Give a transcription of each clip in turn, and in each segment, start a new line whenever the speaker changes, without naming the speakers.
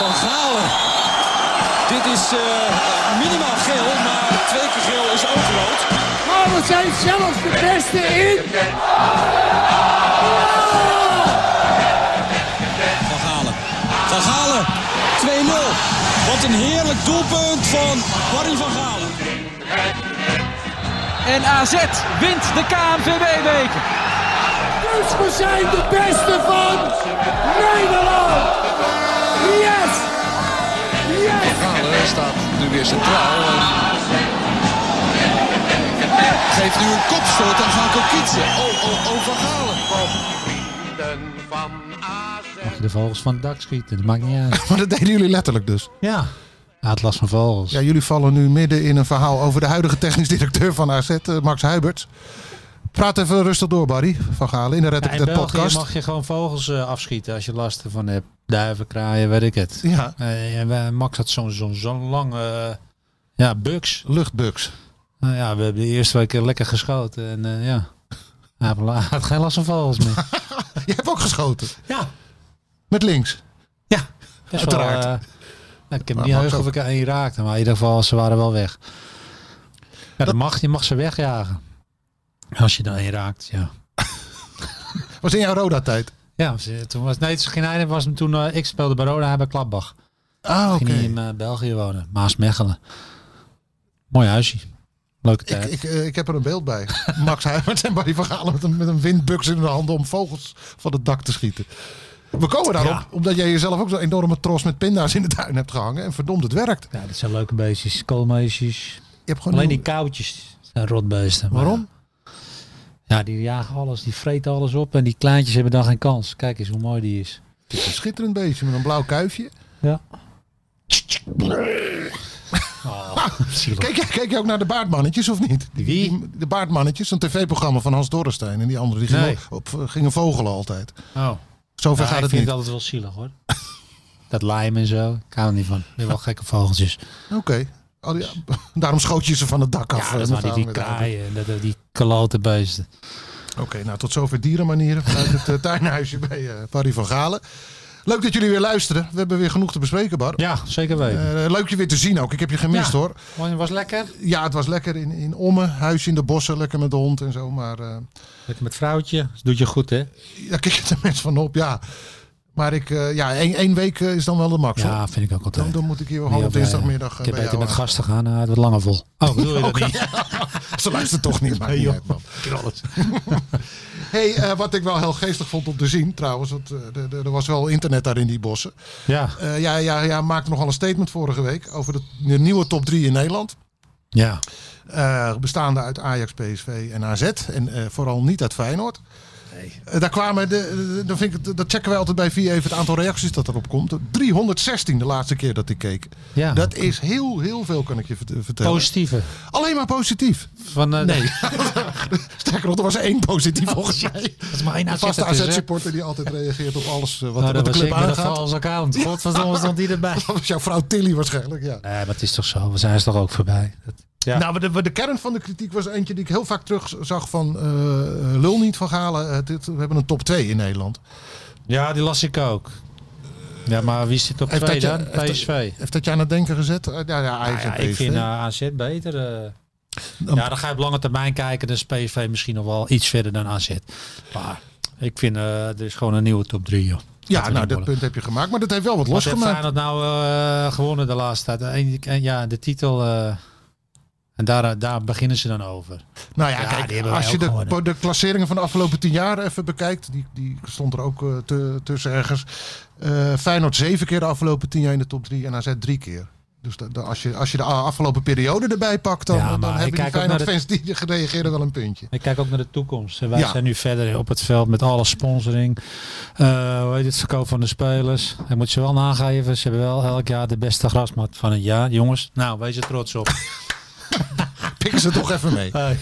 Van Galen. Dit is uh, minimaal geel, maar twee keer geel is ook rood.
Maar we zijn zelf de beste in.
Van Galen. Van Galen. 2-0. Wat een heerlijk doelpunt van Barry van Galen.
En AZ wint de KNVB-beker.
Dus we zijn de beste van Nederland. Yes! Yes!
Galen staat nu weer centraal. En geeft nu een kopstoot aan Van Kokitsen. Oh, oh, oh, Van Galen.
Mag je de vogels van het dak schieten? Dat maakt niet uit.
Maar dat deden jullie letterlijk dus.
Ja. Hij had last van vogels.
Ja, jullie vallen nu midden in een verhaal over de huidige technisch directeur van AZ, eh, Max Huiberts. Praat even rustig door, Barry van Galen, in de Red
Ja,
ik
in
de
België
podcast.
mag je gewoon vogels eh, afschieten als je last ervan hebt. Duiven, kraaien, weet ik het.
Ja,
Eh, en wij- Max had zo'n zo'n zo'n lange eh, ja, bugs.
luchtbugs.
Nou ja, we hebben de eerste week lekker geschoten. En eh, ja, hij had la- hij had geen last van vogels meer.
Je hebt ook geschoten.
ja,
Met links.
ja. Best wel,
Uiteraard.
eh, nou, ik heb
Maar
niet
Max
heus of
ook.
ik aan je raakte, maar in ieder geval ze waren wel weg. Ja, dat, mag, je mag ze wegjagen. Als je dan een raakt, ja.
Was in jouw Roda-tijd.
Ja, ze- toen was, nee, het is geen einde. Was hem toen, eh, ik speelde bij Roda, hij bij Klapbach.
Ah, oké.
Ging hij in eh, België wonen, Maasmechelen. Mooi huisje. Leuke
Ik,
tijd.
ik, eh, ik heb er een beeld bij. Max Huiberts en Barry van Galen met een, met een windbuks in hun handen om vogels van het dak te schieten. We komen daarop omdat jij jezelf ook zo'n enorme tros met pinda's in de tuin hebt gehangen. En verdomd, het werkt.
Ja, dat zijn leuke beestjes, koolmeisjes.
Je hebt gewoon
Alleen
nieuw-
die koudjes zijn rotbeesten. maar-
Waarom?
Ja, die jagen alles, die vreten alles op en die kleintjes hebben dan geen kans. Kijk eens hoe mooi die is.
Het is een schitterend beestje met een blauw kuifje.
Ja.
Kijk, jij- kijk je ook naar de baardmannetjes of niet? Die-
Wie?
die- De baardmannetjes, een tv-programma van Hans Dorrestein. En die anderen die gingen,
Nee.
op, eh, gingen vogelen altijd.
Oh.
Zover
Ja,
gaat
ik
het
vind het
niet.
altijd wel zielig hoor. Dat lijm en zo, ik hou er niet van. Ik ben wel gekke vogeltjes.
Oké. Al die- Daarom schoot je ze van het dak af.
Ja,
eh,
dat
met
waren die, die
met-
kraaien, en dat, die klote beesten.
Oké, nou tot zover dierenmanieren vanuit het eh, tuinhuisje bij eh, Barry van Galen. Leuk dat jullie weer luisteren. We hebben weer genoeg te bespreken, Bar.
Ja, zeker weten.
Eh, leuk je weer te zien ook. Ik heb je gemist
Ja.
hoor.
Was- was lekker.
Ja, het was lekker in, in Ommen. Huisje in de bossen, lekker met de hond en zo. Maar eh,
Lekker met vrouwtje. Dat doet je goed, hè?
daar kijk je de mens van op, ja. Maar ik, eh, ja, één, één week eh, is dan wel de max. hoor.
Ja, vind ik ook altijd.
Dan, dan moet ik hier wel half eh, op dinsdagmiddag eh,
Ik heb
bij
beter
jou
met gasten gaan, eh, het wordt langer vol. Oh, bedoel je dat niet?
aan. Ze luistert toch niet, maar niet uit, man. hey, eh, wat ik wel heel geestig vond om te zien trouwens. Want eh, er- er er was wel internet daar in die bossen.
Ja,
Eh, ja, ja, ja, maakte nogal een statement vorige week over de, de nieuwe top 3 in Nederland.
ja.
Eh, bestaande uit Ajax, PSV en AZ. En eh, vooral niet uit Feyenoord. Eh, daar kwamen, de, de- dan vind ik, het- dat checken wij altijd bij VI even het aantal reacties dat erop komt. 316 de laatste keer dat ik keek.
ja.
Dat is heel, heel veel, kan ik je vert- vertellen.
Positieve.
Alleen maar positief.
Van, eh, nee,
Sterker nog, er was één positief volgens mij.
dat is maar één
Een vaste
AZ-supporter.
AZ-supporter die altijd reageert op alles eh, wat,
Nou, dat
wat de
was
club
ik met een
aangaat.
vals account. Godverdomme stond die erbij.
Dat was jouw vrouw Tilly waarschijnlijk, ja.
Nee, maar het is toch zo. We zijn ze toch ook voorbij. Dat- Ja.
Nou, maar de, maar de kern van de kritiek was eentje die ik heel vaak terugzag van eh, lul niet van Galen. eh, dit, we hebben een top 2 in Nederland.
ja, die las ik ook. Ja, maar wie zit op
Heeft
twee
dat
dan?
je- heeft dat-
PSV.
Heeft dat je aan het denken gezet? Eh, ja, ja,
Nou
Ajax
ja,
en
ik
PSV.
vind eh, AZ beter. eh. ja, dan ga je op lange termijn kijken. Dan is PSV misschien nog wel iets verder dan AZ. Maar ik vind, eh, er is gewoon een nieuwe top 3, joh.
ja, nou, dat
worden.
punt heb je gemaakt, maar dat heeft wel wat
Wat heeft
losgemaakt.
Feyenoord nou eh, gewonnen de laatste tijd? Eén- en ja, de titel. eh, en daar, daar beginnen ze dan over.
Nou ja,
Ja, die
kijk,
hebben wij
als je
ook
de,
gewonnen.
de klasseringen van de afgelopen tien jaar even bekijkt, die, die stond er ook eh, te- tussen ergens. Eh, Feyenoord zeven keer de afgelopen tien jaar in de top 3 en AZ drie keer. Dus da- da- als, je, als je de a- afgelopen periode erbij pakt, dan,
Ja,
dan
maar ik
hebben die
kijk ook naar
Feyenoord-fans die gereageerden wel een puntje.
Ik kijk ook naar de toekomst. En wij
Ja.
zijn nu verder op het veld met alle sponsoring. Eh hoe heet het verkoop van de spelers? Hij moet ze wel nageven. Ze hebben wel elk jaar de beste grasmat van het jaar. Jongens, nou, wees er trots op.
Pikken ze toch even mee.
Hey.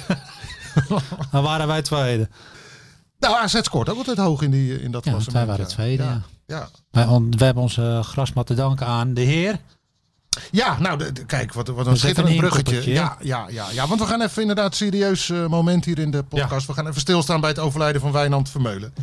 Dan waren wij tweede.
Nou, AZ scoort ook altijd hoog in, die, in dat
Ja, want
klassement.
wij waren tweede, ja.
ja.
Wij, on- wij hebben onze eh, grasmat te danken aan de heer.
Ja, nou, de- de- kijk, wat, wat een
even
schitterend
een
bruggetje.
inkoppertje,
Ja,
hè?
ja, ja, ja, want we gaan even inderdaad serieus eh, moment hier in de podcast. We gaan even stilstaan bij het overlijden van Wijnand Vermeulen. Eh,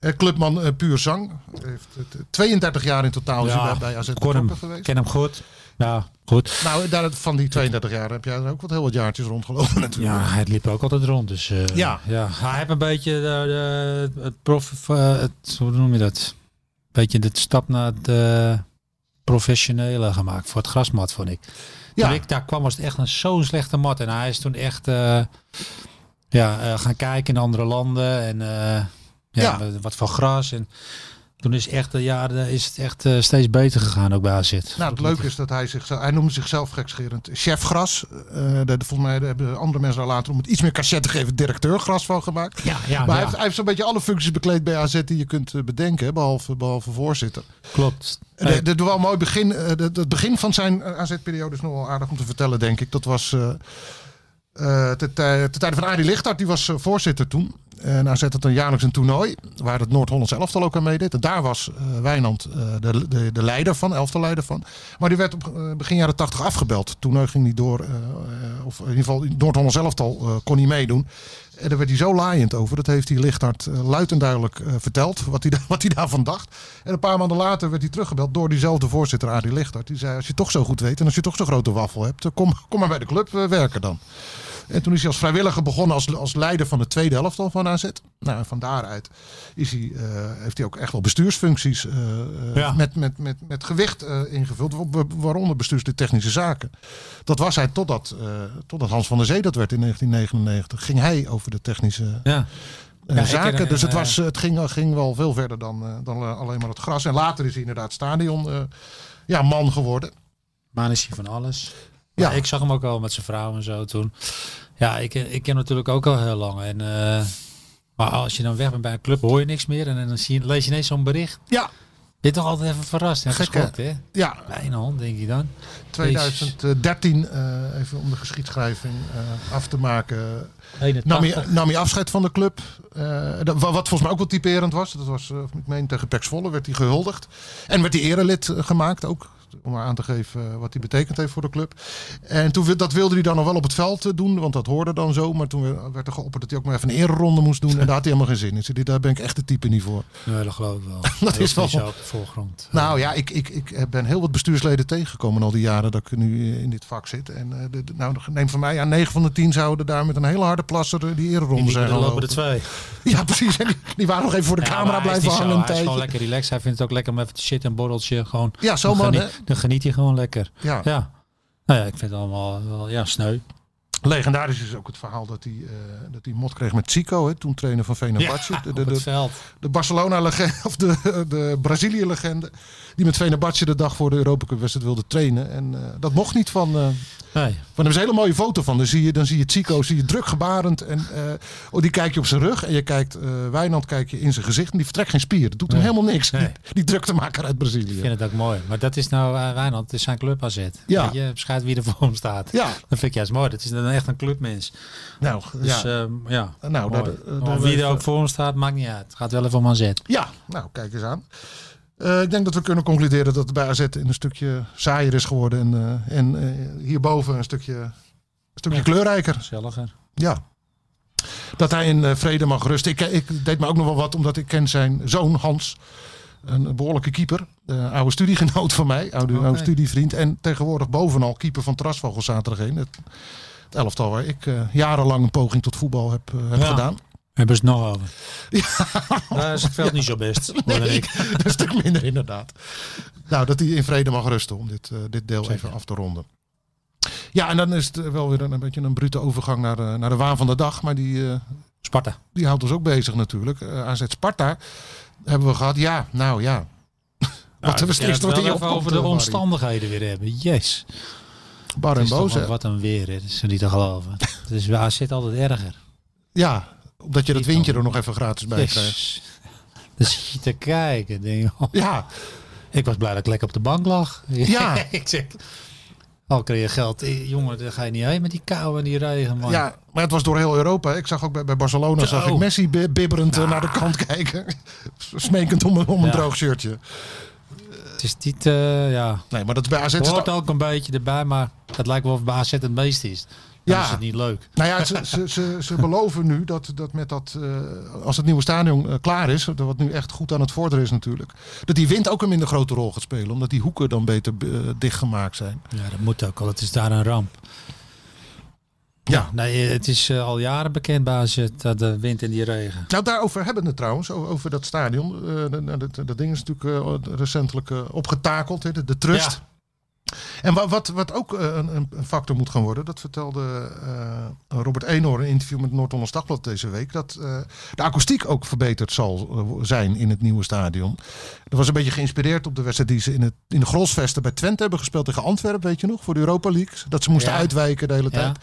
Eh, clubman eh, puur zang. Heeft, eh, 32 jaar in totaal Oh, is hij bij- bij AZ
ik kon hem,
betrokken geweest.
ken hem goed. Ja, goed.
Nou, daar, van die 32 jaar heb jij er ook wat heel wat jaartjes rondgelopen natuurlijk. Nou,
Ja, hij liep ook altijd rond. Dus, eh,
Ja.
ja. Hij heeft een beetje eh, de, de- het prof... eh, het, hoe noem je dat? beetje de stap naar het eh, professionele gemaakt. Voor het grasmat, vond ik.
Ja.
Toen ik daar kwam was het echt een zo'n slechte mat. En hij is toen echt eh, ja, eh, gaan kijken in andere landen. En eh, ja, wat van gras. En toen is, echt, eh, ja, eh, is het echt eh, steeds beter gegaan ook bij AZ.
Nou, het leuke is dat hij zichzelf, hij noemde zichzelf gekscherend chef gras. Eh, dat- volgens mij hebben andere mensen daar later om het iets meer cachet te geven directeur gras van gemaakt.
Ja, ja, Ah,
maar hij
ja.
heeft, hij heeft zo'n beetje alle functies bekleed bij AZ die je kunt eh, bedenken, behalve, behalve voorzitter.
Klopt.
Eh, de- de- de- wel een mooi begin, eh, de- de- het begin van zijn eh, AZ-periode is nog wel aardig om te vertellen, denk ik. Dat was eh eh, ten tij- ten tijde van Arie Lichtart, die was eh, voorzitter toen. En AZ had dan jaarlijks een toernooi, waar het Noord-Hollandse elftal ook aan meedeed. En daar was eh, Wijnand eh, de, de, de leider van, elftalleider van. Maar die werd op eh, begin jaren tachtig afgebeld. Het toernooi ging niet door, eh, eh, of in ieder geval Noord-Hollands elftal eh, kon niet meedoen. En daar werd hij zo laaiend over. Dat heeft hij Lichthart eh, luid en duidelijk eh, verteld. Wat hij, da- wat hij daarvan dacht. En een paar maanden later werd hij teruggebeld door diezelfde voorzitter, Adi Lichthart. Die zei: Als je het toch zo goed weet en als je toch zo'n grote waffel hebt, eh, kom, kom maar bij de club eh, werken dan. En toen is hij als vrijwilliger begonnen als, als leider van de tweede helft al van AZ. Nou, en van daaruit is hij, eh, heeft hij ook echt wel bestuursfuncties eh, eh,
Ja.
met, met, met, met gewicht eh, ingevuld. wa- wa- Waaronder bestuurslid technische zaken. Dat was hij totdat, eh, totdat Hans van der Zee dat werd in 1999. Ging hij over de technische
Ja.
eh,
Ja, ik
zaken.
ken hem,
dus het,
eh,
was, het ging, ging wel veel verder dan, eh, dan eh, alleen maar het gras. En later is hij inderdaad stadion eh, ja, man geworden.
Maar is hij van alles.
Ja.
Ja. ik zag hem ook al met zijn vrouw en zo toen. Ja, ik, ik ken hem natuurlijk ook al heel lang. En, eh, maar als je dan weg bent bij een club, hoor je niks meer. En, dan zie je, lees je ineens zo'n bericht.
Ja.
Dit toch altijd even verrast en
Gek,
geschokt, hè?
Ja,
Bijna hand, denk je dan.
2013, eh, even om de geschiedschrijving eh, af te maken,
81.
nam hij, nam hij afscheid van de club. Eh, dat- wa- wat volgens mij ook wel typerend was. Dat was, eh, ik meen, tegen Pax Volle werd hij gehuldigd. En werd hij erelid eh, gemaakt ook. Om maar aan te geven eh, wat hij betekend heeft voor de club. En toen, wil- dat wilde hij dan nog wel op het veld eh, doen. Want dat hoorde dan zo. Maar toen werd er geopperd dat hij ook maar even een ereronde moest doen. En daar had hij helemaal geen zin in. Dus daar ben ik echt de type niet voor.
Nee, Nou, dat geloof ik wel.
Dat is wel-
niet zo op de voorgrond.
Nou ja, ik, ik, ik ben heel wat bestuursleden tegengekomen al die jaren dat ik nu eh, in dit vak zit. En eh, de- de- nou, neem van mij aan, 9 van de 10 zouden daar met een hele harde plasser eh, die ereronde zijn
er lopen
gelopen.
er twee.
Ja, precies. En die, die waren nog even voor de
Ja, maar
camera
hij is
blijven
niet zo.
hangen een
Hij is gewoon
tijdje.
lekker relaxed. Hij vindt het ook lekker om even te zitten, een borreltje. Gewoon,
Ja, zo
dan
man,
geniet-
hè?
Dan geniet hij gewoon lekker.
Ja.
Ja. Nou ja, ik vind het allemaal wel ja, sneu.
Legendarisch is ook het verhaal dat hij, eh, dat hij mot kreeg met Zico, hè, toen trainer van Venabatje. de,
op
de,
het
de,
veld.
de Barcelona-legende, of de, de Brazilië-legende, die met Venabatje de dag voor de Europa Cup-wedstrijd wilde trainen. En eh, dat mocht niet van... eh,
Nee.
Maar daar is een hele mooie foto van. Dan zie je, dan zie je Chico, zie je druk gebarend. En eh, oh, die kijk je op zijn rug. En je kijkt eh Wijnand kijk je in zijn gezicht. En die vertrekt geen spier. Dat doet hem
Nee.
helemaal niks.
Nee.
Die, die druktemaker uit Brazilië.
Ik vind het ook mooi. Maar dat is nou eh, Wijnand, het is zijn club AZ.
Ja.
Weet je beschrijft wie er voor hem staat.
Ja.
Dat vind ik juist mooi. Dat is dan echt een clubmens.
Nou,
Dus
ja.
ja, ja
Nou,
mooi.
daar- daar-
Maar
daar-
wie er ook voor hem staat, maakt niet uit. Het gaat wel even om AZ.
ja, nou, kijk eens aan. Eh, ik denk dat we kunnen concluderen dat het bij AZ in een stukje saaier is geworden. En, eh, en eh, hierboven een stukje, een stukje kleurrijker.
Gezelliger.
Ja. Dat hij in eh, vrede mag rusten. Ik, ik deed me ook nog wel wat, omdat ik ken zijn zoon Hans. Een behoorlijke keeper. eh, oude studiegenoot van mij. Oude,
Oké.
oude studievriend. En tegenwoordig bovenal keeper van Trasvogel zaterdag heen. Het, het elftal waar ik eh, jarenlang een poging tot voetbal heb, eh, heb
Ja.
gedaan.
Hebben ze het nog over. Daar is het veld niet zo best. hoor
Nee,
ik.
een stuk minder inderdaad. Nou, dat hij in vrede mag rusten om dit, eh, dit deel even af te ronden. Ja, en dan is het wel weer een, een beetje een brute overgang naar, eh, naar de waan van de dag. Maar die, eh,
Sparta. Nou,
die houdt ons ook bezig natuurlijk. Eh, AZ Sparta hebben we gehad. Ja, nou ja. Wat
Nou,
we
ja,
steeds wat
wel
hier
even
opkomt,
over de
eh, Barry.
omstandigheden weer hebben. Yes.
Bar
Het
en
is toch
boos,
wel
hè?
wat een weer. hè. Dat is niet te geloven. Dus bij AZ altijd erger.
Ja, omdat je dat
Niet
windje
dan.
er nog even gratis bij krijgt.
Yes. Dan zit je te kijken. Denk, je, oh,
Ja,
Ik was blij dat ik lekker op de bank lag.
Ja.
ik zeg, al kreeg je geld. Eh, Jongen, daar ga je niet heen met die kou en die regen, man.
ja, maar het was door heel Europa. Ik zag ook bij, bij Barcelona
Zo. Nou.
zag ik Messi bi- bibberend eh, naar de kant kijken. Smekend om, een- om een
Ja.
droog shirtje.
Het is niet, eh ja.
Nee, maar dat is bij AZ... is
Het hoort
dat-
ook een beetje erbij, maar het lijkt wel of bij AZ het meest is. Dan
Ja.
is het niet leuk.
Nou ja, ze, ze, ze, ze beloven nu dat, dat met dat, eh, als het nieuwe stadion eh, klaar is, dat wat nu echt goed aan het vorderen is natuurlijk, dat die wind ook een minder grote rol gaat spelen, omdat die hoeken dan beter eh, dichtgemaakt zijn.
Ja, dat moet ook al. Het is daar een ramp.
Ja.
Nee, het is eh, al jaren bekend, baas, dat de wind en die regen.
Nou, daarover hebben we het trouwens, o- over dat stadion. Eh, nou, dat, dat ding is natuurlijk eh, recentelijk eh, opgetakeld, hè, de, de trust. En wa- wat, wat ook eh, een, een factor moet gaan worden, dat vertelde eh, Robert Eenhoorn in een interview met Noord-Hollands Dagblad deze week, dat eh, de akoestiek ook verbeterd zal eh, wo- zijn in het nieuwe stadion. Dat was een beetje geïnspireerd op de wedstrijd die ze in, het, in de Grolsvesten bij Twente hebben gespeeld tegen Antwerpen, weet je nog, voor de Europa League. Dat ze moesten
Ja.
uitwijken de hele
Ja.
tijd.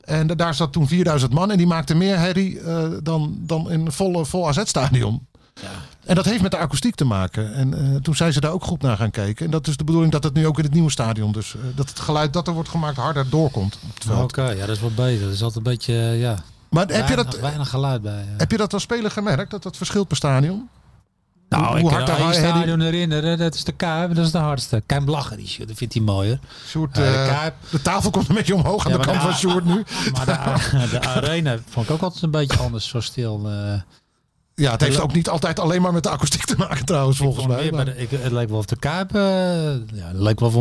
En da- daar zat toen 4000 man en die maakte meer herrie eh, dan, dan in een volle, vol AZ-stadion. En dat heeft met de akoestiek te maken. En eh, toen zijn ze daar ook goed naar gaan kijken. En dat is de bedoeling dat het nu ook in het nieuwe stadion, dus eh, dat het geluid dat er wordt gemaakt harder doorkomt op het
Oké,
veld.
ja, dat is wel beter. Dat is altijd een beetje, eh, ja,
Maar heb je,
Nou, weinig,
dat,
weinig geluid bij. eh. ja.
heb je dat als speler gemerkt, dat dat verschilt per stadion?
Nou,
hoe
ik
hard
kan
daar
één
hij-
stadion herinneren. Dat is de Kuip, dat is de hardste. Keim Blacher, die shit, dat vindt hij mooier.
Een soort,
Ja, de
eh,
Kuip.
de tafel komt een beetje omhoog aan
Ja,
de
maar
kant van
de-
Sjoerd nu.
Maar de, de arena vond ik ook altijd een beetje anders, zo stil. eh.
Ja, het heeft ook niet altijd alleen maar met de akoestiek te maken trouwens, volgens
Vond
mij.
meer bij
maar-
de- ik, het lijkt wel of de Kuip, eh, ja, het lijkt wel of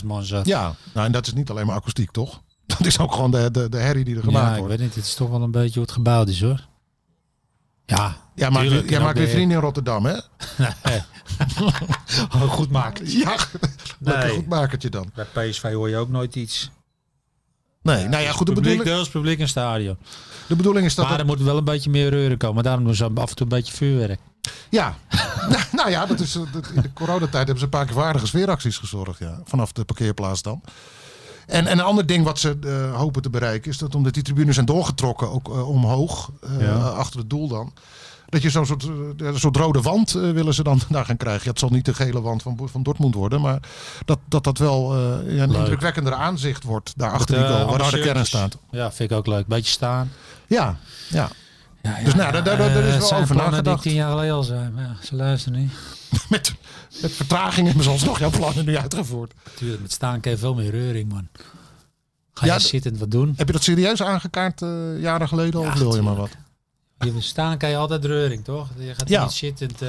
100.000 man zat.
Ja, nou, en dat is niet alleen maar akoestiek, toch? Dat is ook gewoon de, de, de herrie die er gemaakt
Ja, ik
wordt.
weet niet. Het is toch wel een beetje hoe het gebouwd is, hoor. Ja,
Jij maakt,
tuurlijk,
jij
en
maakt
ook
weer
de-
vrienden in Rotterdam, hè? Oh,
goed maken.
Ja, lekker goed makertje dan.
Bij PSV hoor je ook nooit iets.
Nee, nou ja, goed, de
publiek,
bedoeling,
deels publiek en stadion.
de bedoeling is dat...
maar
het-
er moet wel een beetje meer reuren komen. Daarom doen ze af en toe een beetje vuurwerk.
ja, Nou, nou ja, dat is, eh, dat, in de coronatijd hebben ze een paar keer voor aardige sfeeracties gezorgd, ja. Vanaf de parkeerplaats dan. En, en een ander ding wat ze eh, hopen te bereiken is dat omdat die tribunes zijn doorgetrokken, ook eh, omhoog, eh, achter het doel dan. Dat je zo'n soort, eh, een soort rode wand eh, willen ze dan daar gaan krijgen. Ja, het zal niet de gele wand van, Bo- van Dortmund worden, maar dat dat, dat wel eh, ja, een
Leuk.
indrukwekkender aanzicht wordt daar achter
Met,
die
eh,
goal, waar de harde
allemaal
kern
shirtjes.
staat.
Ja, vind ik ook leuk. Beetje staan.
Ja, ja. Dus nou, daar- daar- daar is
Eh,
wel
het zijn
over
plannen
nagedacht.
die tien jaar geleden al zijn. maar ja, ze luisteren niet.
Met, met vertraging hebben ze alsnog jouw plannen nu uitgevoerd.
Tuurlijk, met staan kan je veel meer reuring, man. Ga
Ja,
je
d-
zittend wat doen?
Heb je dat serieus aangekaart eh, jaren geleden of wil je maar wat?
Je staan kan je altijd reuring, toch? Je gaat
Ja.
niet zittend eh,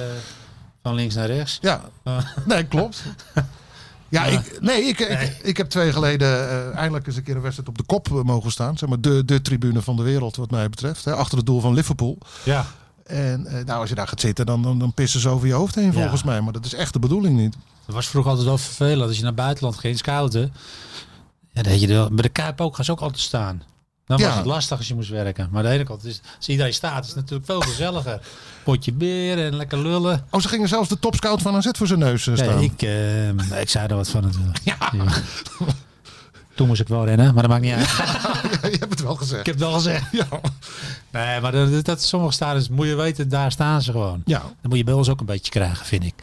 van links naar rechts.
Ja,
Eh.
nee, klopt. Ja, ik, nee, ik, ik, ik heb twee jaar geleden eh, eindelijk eens een keer een wedstrijd op de kop eh, mogen staan. Zeg maar de, de tribune van de wereld wat mij betreft. Hè, achter het doel van Liverpool.
Ja.
En eh, nou, als je daar gaat zitten, dan, dan, dan pissen ze over je hoofd heen
Ja.
volgens mij. Maar dat is echt de bedoeling niet.
Dat was vroeger altijd wel vervelend. Als je naar het buitenland ging scouten. Ja, dat je de, bij de Kuip ook gaan ze ook altijd staan. Dan
Ja.
was het lastig als je moest werken. Maar aan de ene kant, is, als iedereen staat, is het natuurlijk veel gezelliger. Potje bier en lekker lullen.
Oh, ze gingen zelfs de topscout van AZ voor zijn neus eh,
Ja,
staan.
ik, eh, ik zei er wat van natuurlijk. Ja. Toen moest ik wel rennen, maar dat maakt niet uit.
je hebt het wel
Ik
gezegd.
heb het wel gezegd.
Ja.
Nee, maar dat, dat sommige stadions, moet je weten, daar staan ze gewoon.
ja.
Dat moet je bij ons ook een beetje krijgen, vind ik.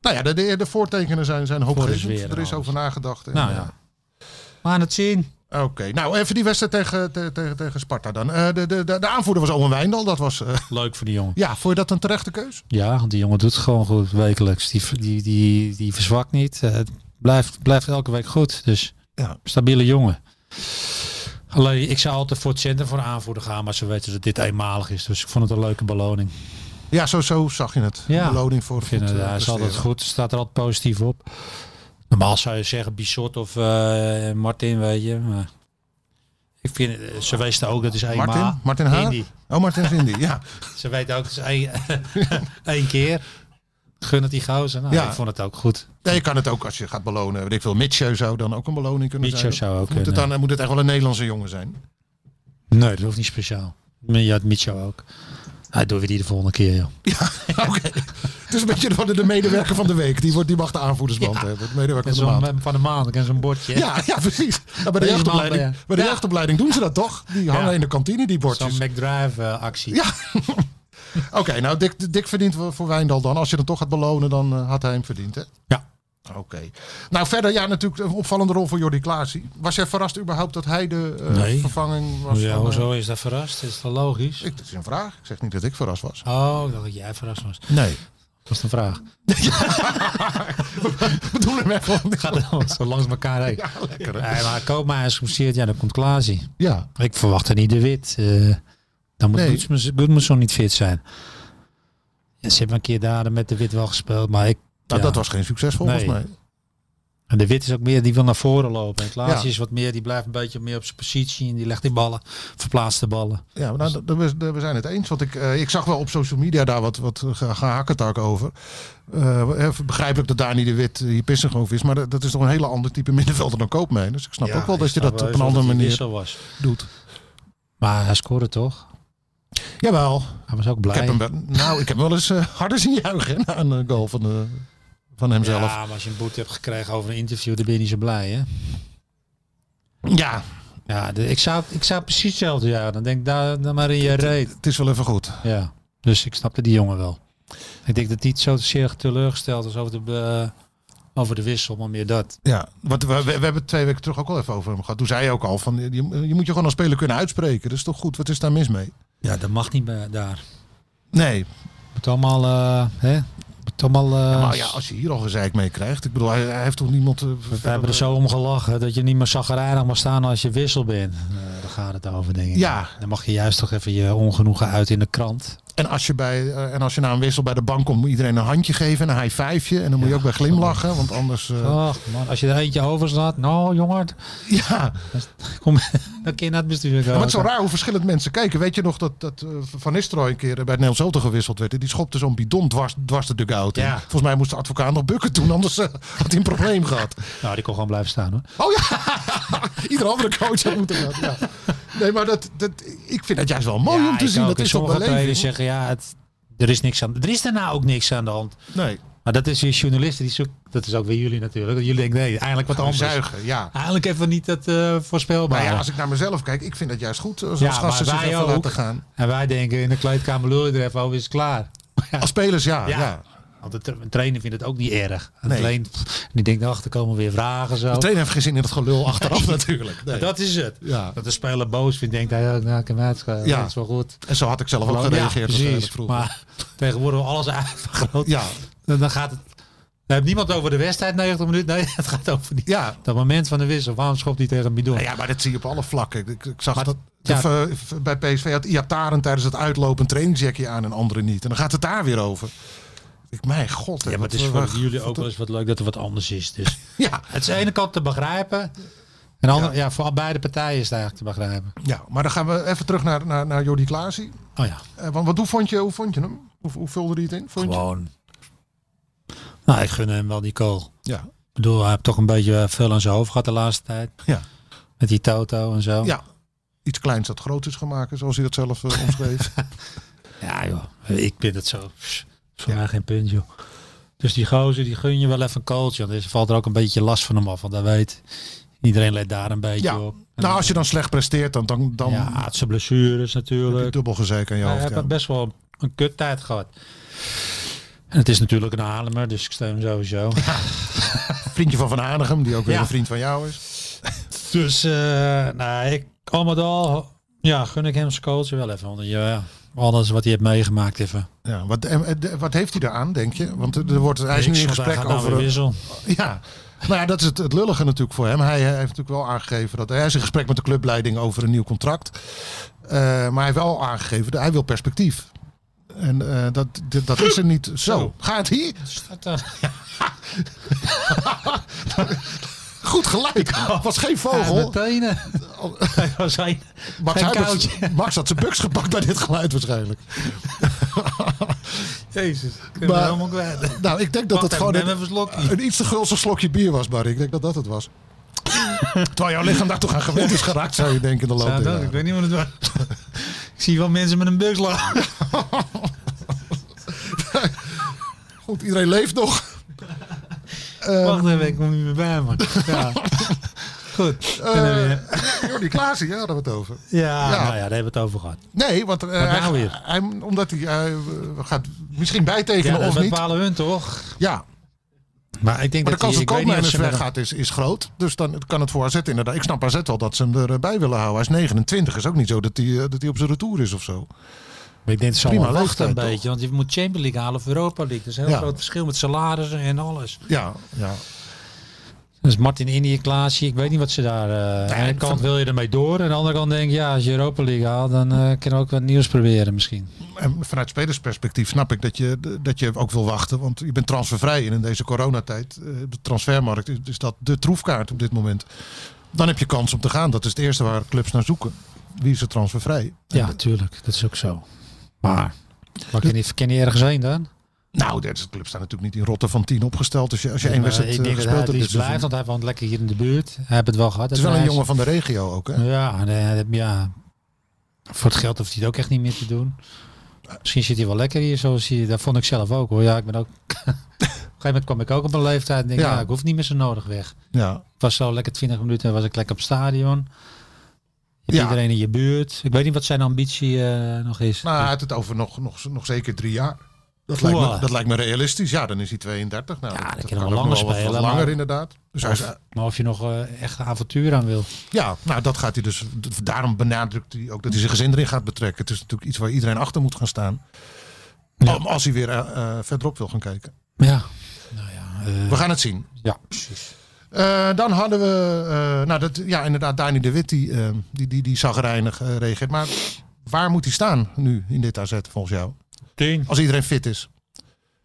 Nou ja, de, de, de voortekenen zijn, zijn hoopgevend.
sfeer en
Er
alles.
is over nagedacht. En,
Nou
eh,
ja. Maar aan het zien.
Oké, nou even die wedstrijd tegen, te- tegen, tegen Sparta dan. Eh, de, de, de, de aanvoerder was Owen Wijndal. Dat was, eh,
Leuk voor die jongen.
ja, vond je dat een terechte keus?
Ja, want die jongen doet het gewoon goed wekelijks. Die, die, die, die verzwakt niet. Eh, het blijft, blijft elke week goed. Dus
Ja.
stabiele jongen. Alleen, ik zou altijd voor het centrum voor aanvoerder gaan. Maar ze weten dat dit eenmalig is. Dus ik vond het een leuke beloning.
Ja, zo, zo zag je het.
Ja.
Beloning voor
Ik vind het,
goed, eh,
hij is altijd
presteren.
goed. Staat er altijd positief op. Normaal zou je zeggen Bissot of eh, Martin, weet je. Maar ik vind, eh, ze wisten ook dat is eenmalig.
Martin? Martin H?
Indy.
Oh, Martin Vindy, ja.
Ze weten ook, het is één, één keer. Gun het die gozer. Nou,
Ja.
Ik vond het ook goed.
Nee, je kan het ook als je gaat belonen. Weet ik veel, Mitchell zou dan ook een beloning kunnen
Mitchell
zijn.
zou ook
Of moet, het
kunnen.
dan, eh, moet het echt wel een Nederlandse jongen zijn?
Nee, dat hoeft niet speciaal. Maar Ja, Micho ook. Hij doet weer die de volgende keer, joh.
Oké. Het is een beetje de, de medewerker van de week. Die, wordt, die mag de aanvoerdersband
Ja.
hebben. De medewerker
En
van de maand.
van de maand en zo'n bordje. hè?
Ja, ja, precies. Nou, bij de,
Deze
jeugdopleiding,
man, ja.
bij de
Ja.
jeugdopleiding doen ze dat toch? Die hangen
Ja.
in de kantine, die
Zo'n eh,
bordjes.
McDrive-actie.
Ja. Oké, nou, Dick, Dick verdient wel voor Wijndal dan. Als je hem toch gaat belonen, dan eh, had hij hem verdiend, hè?
Ja.
Oké. Nou, verder, ja, natuurlijk een opvallende rol voor Jordi Klaasie. Was jij verrast überhaupt dat hij de eh,
Nee.
vervanging was? van, eh,
hoezo is dat verrast? Is dat logisch?
ik, dat is een vraag. Ik zeg niet dat ik verrast was.
Oh, ik dacht dat jij verrast was.
Nee.
was de vraag.
We doen hem even opnieuw.
Gaat het wel zo langs elkaar heen.
Ja, lekker. hè?
Nee, maar Koopma is geblesseerd. Ja, dan komt Klaasie.
Ja,
Ik verwacht er niet de wit. eh, dan moet
Nee.
Goodmanson- Goodmanson niet fit zijn. Ja, ze hebben een keer daar met de wit wel gespeeld. Maar ik,
nou,
ja.
dat was geen succes volgens
Nee.
mij.
En de wit is ook meer die wil naar voren lopen. En Klaasie
Ja.
is wat meer, die blijft een beetje meer op zijn positie. En die legt die ballen, verplaatst de ballen.
Ja, maar nou, dat- dat- we, dat- we zijn het eens. Want ik, eh, ik zag wel op social media daar wat, wat eh, ge- gehakketak over. Eh, hè, begrijpelijk dat Dani de Wit eh, hier pissig over is. Maar dat, dat is toch een hele ander type middenvelder dan Koopmijn. Dus ik snap ook wel dat je dat op een andere manier
Zo was.
doet.
Maar hij scoorde toch?
Jawel.
Hij was ook
Ik
blij.
heb hem, wel- nou, ik heb wel eens eh, harder zien juichen hè, na een eh, goal van, eh, van hemzelf. Ja.
Ja, maar als je een boete hebt gekregen over een interview, dan ben je niet zo blij, hè? Ja, de- ik, zou, ik zou precies hetzelfde ja. Dan denk ik daar dan maar in je reet.
het is wel even goed.
Ja, dus ik snapte die jongen wel. Ik denk dat hij niet zo zeer teleurgesteld is over de, eh, over de wissel, maar meer dat.
Ja, want we, we, we hebben het twee weken terug ook al even over hem gehad. Toen zei je ook al van, je, je moet je gewoon als speler kunnen uitspreken. Dat is toch goed? Wat is daar mis mee?
Ja, dat mag niet bij, daar.
Nee,
Het allemaal, eh, hè? Het allemaal... eh,
maar ja, als je hier al gezeik mee krijgt. Ik bedoel, hij, hij heeft toch niemand... eh,
we hebben er zo om gelachen dat je niet meer zagrijnig mag staan als je wissel bent. Eh, daar gaat het over, denk ik.
Ja.
Dan mag je juist toch even je ongenoegen uit in de krant.
En als, je bij, eh, en als je na een wissel bij de bank komt, moet iedereen een handje geven en een high fiveje. En dan moet je ook bij glimlachen, want anders... eh,
Ach man, als je er eentje over slaat, nou jongen,
ja,
kom, dan kun je naar het bestuur
Ja,
gaan.
maar het is wel raar hoe verschillend mensen kijken. Weet je nog dat, dat eh, Van Nistelrooy een keer bij het Nederlands Elftal gewisseld werd? En die schopte zo'n bidon dwars, dwars de dugout in.
Ja.
Volgens mij moest de advocaat nog bukken toen, anders eh, had hij een probleem gehad.
Nou, die kon gewoon blijven staan hoor.
Oh ja, ieder andere coach had moeten dat. Ja. Nee, maar dat, dat, ik vind dat juist wel mooi om te zien. Dat is toch
sommige trainers
beleving?
zeggen, ja, het, er is niks aan. Er is daarna ook niks aan de hand.
Nee,
Maar dat is weer journalisten die zoeken. Dat is ook weer jullie natuurlijk. dat Jullie denken, nee, eigenlijk wat
gewoon
anders.
zuigen, ja.
Eigenlijk even niet dat eh voorspelbaar.
Maar ja, als ik naar mezelf kijk, ik vind dat juist goed. Als
Ja,
als gasten
maar
zich
wij
even
ook.
laten gaan.
En wij denken in de kleedkamer lul je er even over, is het klaar.
Als spelers, ja. ja.
Ja. Want de tra- een trainer vindt het ook niet erg.
Nee.
Alleen, pff, die denkt, ach, er komen weer vragen zo.
De trainer heeft geen zin in dat gelul achteraf natuurlijk. Nee.
Dat is het.
Ja.
Dat de speler boos vindt, denkt hij, nou, ik heb hem uitgeschakeld.
Ja.
Dat is wel goed.
En zo had ik zelf ook
Ja,
gereageerd waarschijnlijk
precies.
vroeger.
Maar tegenwoordig wordt alles uitvergroot.
Ja.
Dan dan gaat het. Dan heeft niemand over de wedstrijd 90 minuten. Nee, het gaat over die,
Ja,
dat moment van de wissel. Waarom schopt hij tegen Bidon?
Nou ja, maar dat zie je op alle vlakken. Ik, ik zag
Maar
dat
ja.
of, eh, v- bij PSV had Iataren tijdens het uitlopen een trainingsjackje aan en anderen niet. En dan gaat het daar weer over. Ik, mijn god. hè,
Ja, maar het
wat-
is
waar-
voor jullie ook wel eens wat leuk dat er wat anders is. Dus
Ja,
het is aan de ene kant te begrijpen. En aan de andere, ja. voor beide partijen is het eigenlijk te begrijpen.
ja, maar dan gaan we even terug naar, naar, naar Jordi Klaasie.
Oh ja,
Eh, want wat, hoe, vond je, hoe vond je hem? Hoe, hoe vulde hij het in? Vond je?
gewoon. Nou, ik gun hem wel die kool.
Ja.
Ik bedoel, hij heeft toch een beetje eh, veel aan zijn hoofd gehad de laatste tijd.
Ja.
Met die Toto en zo.
ja, iets kleins dat groot is gaan maken, zoals hij dat zelf eh, omschreef.
Ja joh, ik ben het zo. Pff, Voor mij geen punt joh. Dus die gozer, die gun je wel even een coach. Want er valt er ook een beetje last van hem af. Want dat weet iedereen let daar een beetje
ja.
op. En
Nou, als je dan slecht presteert, dan, dan, dan
ja, het zijn blessures
heb je
natuurlijk.
dubbel gezeik aan je
Hij
hoofd.
heeft
Ja.
best wel een kut tijd gehad. En het is natuurlijk een Haarlemmer, dus ik steun hem sowieso.
Vriendje van Van Hanegem, die ook weer
Ja.
een vriend van jou is.
dus, eh nou, ik, al met al, ja, gun ik hem zijn coach wel even. Want ja, alles wat hij heeft meegemaakt even.
Ja, wat, en, eh, de- wat heeft hij daaraan, denk je? Want er er wordt, hij is nu
Niks,
in
want
gesprek
gaat nou
over...
weer
een-
wissel.
Ja, nou ja, dat is het, het lullige natuurlijk voor hem. Hij eh, heeft natuurlijk wel aangegeven dat hij is in gesprek met de clubleiding over een nieuw contract. Eh, maar hij heeft wel aangegeven dat hij wil perspectief. En eh, dat, dat, dat is er niet zo. Gaat hier?
Staat er-
Goed gelijk. Was geen
eh, Ja,
vogel.
met tenen. Hij was een-
Max,
geen
Huibert-
koutje.
Max had zijn buks gepakt bij dit geluid waarschijnlijk.
Jezus, ik ben
Maar-
er helemaal kwijt.
Nou, ik denk dat
Wacht
het
even,
gewoon Ah,
neem
een,
even een slokje.
een iets te gulzig slokje bier was, Barry. Ik denk dat dat het was. Terwijl jouw lichaam daar toch aan gewend is geraakt, zou je denken in de loop
Ja,
der
dat, ik
jaren.
weet niet wat het was. ik zie wel mensen met een buks lachen.
Goed, iedereen leeft nog. Ehm,
Wacht even, ik kom niet meer bij, man. Ja. Goed.
Eh,
kunnen we weer.
Jordi Klaassen, ja, daar hadden we het over.
ja,
ja.
nou ja, daar hebben we het over gehad.
Nee, want eh,
nou
hij,
weer?
hij- omdat hij eh, gaat misschien
Ja,
bijtekenen
dat
of niet.
bepalen hun toch?
Ja,
Maar ik denk
maar
dat
de kans
die- ik weet niet of
dat Koopmeiners
ze met
weggaat is, is groot. Dus dan kan het voor AZ inderdaad. Ik snap AZ wel dat ze hem erbij willen houden. Hij is 29, is ook niet zo dat hij, eh, dat hij op zijn retour is of zo.
een- Maar ik denk, het zal
Prima
wel wachten een
leeftijd, toch?
beetje. Want je moet Champions League halen of Europa League. Dat is een heel
Ja.
groot verschil met salarissen en alles.
Ja, ja.
Dus Martin Indië, Klaasje, ik weet niet wat ze daar... eh aan de ene kant wil je ermee door. Aan de andere kant denk ik, ja, als je Europa League haalt, dan eh kan je ook wat nieuws proberen misschien.
En vanuit spelersperspectief snap ik dat je, dat je ook wil wachten. Want je bent transfervrij. En in deze coronatijd, eh, de transfermarkt, is- is dat de troefkaart op dit moment. Dan heb je kans om te gaan. Dat is het eerste waar clubs naar zoeken. Wie is er transfervrij?
Ja, tuurlijk. Dat is ook zo. Maar... Maar ken je, ken je ergens heen dan?
Nou, dat is- de clubs staan natuurlijk niet in rotte van 10 opgesteld. Dus je, als je één
Maar
wedstrijd
ik
eh,
denk dat hij
gespeeld
het
hebt,
liefst
dit
blijft,
seizoen-
want hij woont lekker hier in de buurt. Hij heeft het wel gehad.
Het is wel een
Hij
jongen van de regio ook. Hè?
Ja, en, eh, dat- ja, voor het geld hoeft hij het ook echt niet meer te doen. Misschien zit hij wel lekker hier, zoals hij, dat vond ik zelf ook hoor. Ja, ik ben ook. op een gegeven moment kwam ik ook op een leeftijd en denk
Ja.
ja. ik hoef niet meer zo nodig weg.
Ja.
Ik was zo lekker 20 minuten en was ik lekker op het stadion. Je hebt
Ja.
iedereen in je buurt. Ik weet niet wat zijn ambitie eh, nog is.
Nou, hij had het over nog, nog, nog zeker drie jaar. Dat lijkt, me,
Voetballen.
dat lijkt me realistisch. Ja, dan is hij 32. Nou,
Ja, dan kan
kan
hij
ook
wel
nog
langer
wat- wat
spelen,
langer
maar-
inderdaad. Dus hij is,
maar of je nog eh, echt een avontuur aan wil.
Ja, nou dat gaat hij dus. d- Daarom benadrukt hij ook dat hij zijn gezin erin gaat betrekken. Het is natuurlijk iets waar iedereen achter moet gaan staan. Om- Als hij weer eh, eh, verderop wil gaan kijken.
Ja. Nou ja. eh,
We gaan het zien.
ja, precies.
Eh, dan hadden we. eh, nou, dat, ja, inderdaad, Dani de Wit die, eh die, die, die zagrijnig eh, reageert. Maar waar moet hij staan nu in dit AZ volgens jou?
Tien.
Als iedereen fit is.